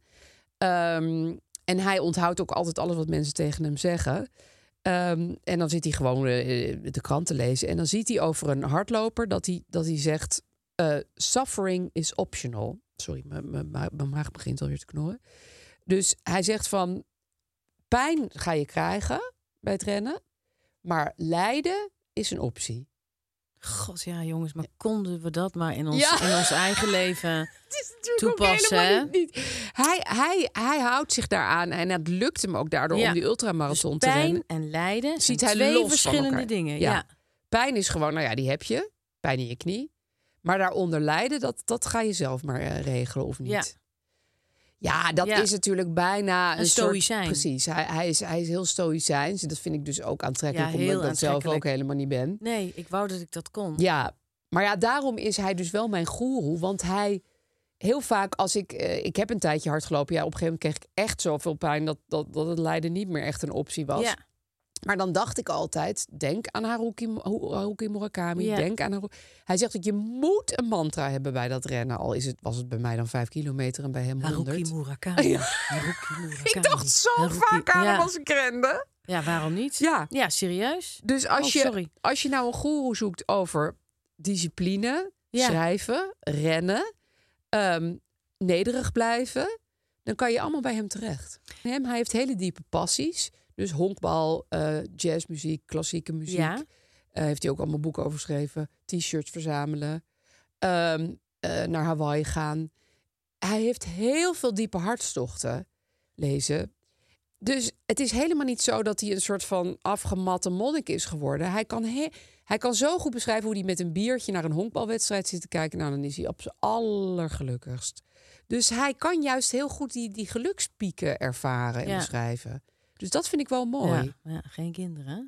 Ehm, en hij onthoudt ook altijd alles wat mensen tegen hem zeggen. Ehm, en dan zit hij gewoon eh, de krant te lezen. En dan ziet hij over een hardloper dat hij, dat hij zegt... eh, suffering is optional. Sorry, mijn- mijn ma- mijn maag begint alweer te knorren. Dus hij zegt van... pijn ga je krijgen bij het rennen... maar lijden is een optie. God, ja jongens, maar konden we dat maar in ons, Ja. in ons <laughs> eigen leven... natuurlijk ook toepassen, helemaal hè? niet- niet. Hij, hij, hij houdt zich daaraan en het lukt hem ook daardoor Ja. om die ultramarathon Dus te pijn rennen. en lijden Ziet zijn hij twee los van verschillende elkaar. dingen. Ja. Ja. Pijn is gewoon, nou ja, die heb je. Pijn in je knie. Maar daaronder lijden, dat, dat ga je zelf maar eh, regelen of niet. Ja. Ja, dat Ja. is natuurlijk bijna een, Een soort- stoïcijn. precies. Hij, hij, is, hij is heel stoïcijns. Dat vind ik dus ook aantrekkelijk, Ja, omdat heel ik dat zelf ook aantrekkelijk. helemaal niet ben. Nee, ik wou dat ik dat kon. Ja, maar ja, daarom is hij dus wel mijn goeroe. Want hij, heel vaak als ik... eh, ik heb een tijdje hard gelopen. Ja, op een gegeven moment kreeg ik echt zoveel pijn... dat, dat, dat het lijden niet meer echt een optie was. Ja. Maar dan dacht ik altijd, denk aan Haruki, Hu- Haruki Murakami, Ja. denk aan Haruki. Hij zegt dat je moet een mantra hebben bij dat rennen. Al is het, was het bij mij dan vijf kilometer en bij hem Haruki 100. <laughs> Murakami. Haruki Murakami. Ik dacht zo Haruki- vaak aan hem ja. als ik rende. Ja, waarom niet? Ja. Ja, serieus? Dus als, Oh, je, sorry. als je nou een goeroe zoekt over discipline, Ja. schrijven, rennen, ehm, nederig blijven, dan kan je allemaal bij hem terecht. Hem, hij heeft hele diepe passies. Dus honkbal, eh, jazzmuziek, klassieke muziek. Ja. Eh, heeft hij ook allemaal boeken over geschreven. T-shirts verzamelen. ehm, eh, naar Hawaii gaan. Hij heeft heel veel diepe hartstochten lezen. Dus het is helemaal niet zo dat hij een soort van afgematte monnik is geworden. Hij kan, he- hij kan zo goed beschrijven hoe hij met een biertje naar een honkbalwedstrijd zit te kijken. Nou, dan is hij op zijn allergelukkigst. Dus hij kan juist heel goed die, die gelukspieken ervaren en Ja. beschrijven. Dus dat vind ik wel mooi. Ja, ja, geen kinderen. hè?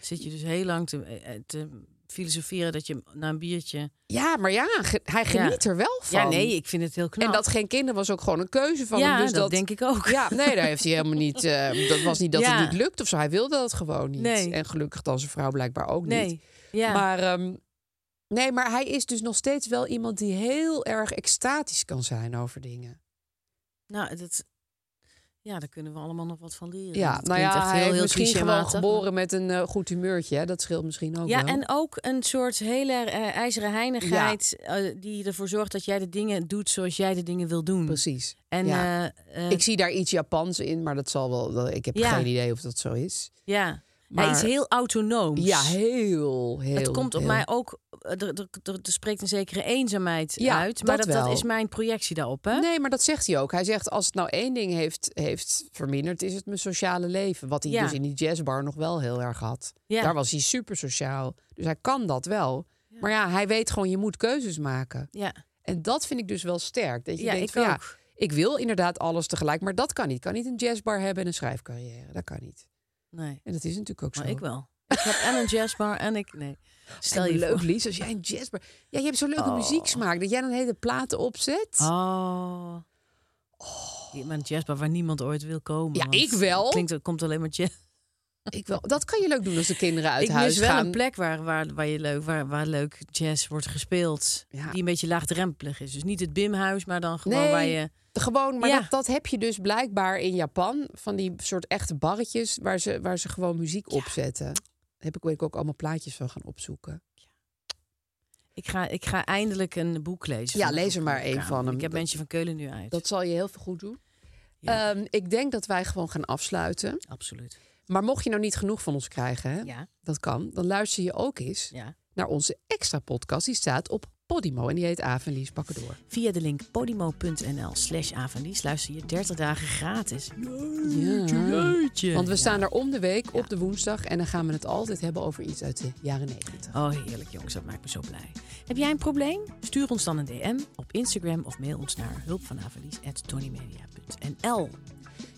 Zit je dus heel lang te, eh, te filosoferen dat je na een biertje... Ja, maar ja, ge- hij Ja. geniet er wel van. Ja, nee, ik vind het heel knap. En dat geen kinderen was ook gewoon een keuze van Ja, hem. Dus dat denk ik ook. Ja, nee, daar heeft hij helemaal <laughs> niet. eh, dat was niet dat Ja. het niet lukt of zo. Hij wilde dat gewoon niet. Nee. En gelukkig dan zijn vrouw blijkbaar ook Nee, niet. ja. Maar, ehm, nee, maar hij is dus nog steeds wel iemand die heel erg extatisch kan zijn over dingen. Nou, dat... Ja, daar kunnen we allemaal nog wat van leren. Ja, Dat nou klinkt ja, echt hij heel, is heel misschien gewoon clichématig, maar- geboren met een eh, goed humeurtje. Hè? Dat scheelt misschien ook Ja, wel. en ook een soort hele eh, ijzeren heinigheid... eh, die ervoor zorgt dat jij de dingen doet zoals jij de dingen wil doen. Precies. En ja. eh, eh, ik zie daar iets Japans in, maar dat zal wel. dat- Ik heb Ja. geen idee of dat zo is. ja, maar- hij is heel autonoom. Ja, heel, heel. het komt op heel- mij ook, eh, er, er, er, er spreekt een zekere eenzaamheid Ja, uit. Maar dat dat, dat, wel. is mijn projectie daarop. Hè? Nee, maar dat zegt hij ook. Hij zegt, als het nou één ding heeft, heeft verminderd, is het mijn sociale leven. Wat hij Ja. dus in die jazzbar nog wel heel erg had. Ja. Daar was hij super sociaal. Dus hij kan dat wel. Maar ja, hij weet gewoon, je moet keuzes maken. Ja. En dat vind ik dus wel sterk. Dat je Ja, denkt, ik van, ja, ook. ik wil inderdaad alles tegelijk, maar dat kan niet. Ik kan niet een jazzbar hebben en een schrijfcarrière. Dat kan niet. Nee, En dat is natuurlijk ook zo. maar ik wel. Ik heb en een jazzbar en ik... Nee, stel En je leuk, voor. Lies, als jij een jazzbar... Ja, je hebt zo'n leuke muzieksmaak, dat jij dan hele platen opzet. Oh. Die- Maar een jazzbar waar niemand ooit wil komen. Oh. Ja, want ik wel. het Klinkt, er komt alleen maar jazz. Ik wel. Dat kan je leuk doen als de kinderen uit ik huis mis wel gaan. een plek waar, waar, waar, je leuk, waar, waar leuk jazz wordt gespeeld. Ja. Die een beetje laagdrempelig is. Dus niet het bimhuis, maar dan gewoon waar je... Gewoon, maar Ja. dat, dat heb je dus blijkbaar in Japan. Van die soort echte barretjes waar ze, waar ze gewoon muziek opzetten. Daar heb ik, weet ik ook allemaal plaatjes van gaan opzoeken. Ik ga, ik ga eindelijk een boek lezen. Ja, van de lees er maar één boekenkamer. van hem. Ik heb Dat- mensen van Keulen nu uit. Dat zal je heel veel goed doen. Ja. Ehm, ik denk dat wij gewoon gaan afsluiten. Absoluut. Maar mocht je nou niet genoeg van ons krijgen, hè? Ja. dat kan. Dan luister je ook eens Ja. naar onze extra podcast. Die staat op Podimo en die heet Aaf en Lies Pakken Door. Via de link podimo.nl slash avondies luister je 30 dagen gratis. Want we staan er om de week op de woensdag. En dan gaan we het altijd hebben over iets uit de jaren negentig. Oh, heerlijk jongens, dat maakt me zo blij. Heb jij een probleem? Stuur ons dan een DM op Instagram of mail ons naar hulpvanavalies.tonymedia.nl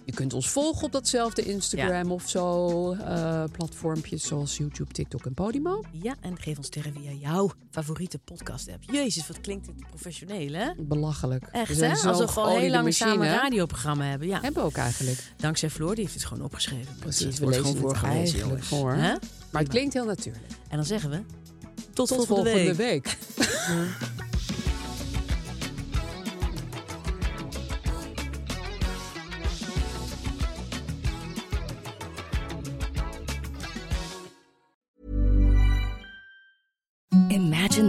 Je kunt ons volgen op datzelfde Instagram of zo. eh, platformpjes zoals YouTube, TikTok en Podimo. Ja, en geef ons sterren via jouw favoriete podcast-app. Jezus, wat klinkt dit professioneel, hè? Belachelijk. We Echt, zijn hè? zo'n Alsof we al geoliede heel lang machine. samen een radioprogramma hebben. Ja. Hebben we ook eigenlijk. Dankzij Floor, die heeft het gewoon opgeschreven. Precies, Het we wordt lezen gewoon het voorgelezen, eigenlijk jongens. voor. Hè? Maar het klinkt heel natuurlijk. En dan zeggen we... Tot, Tot volgende, week. week. Imagine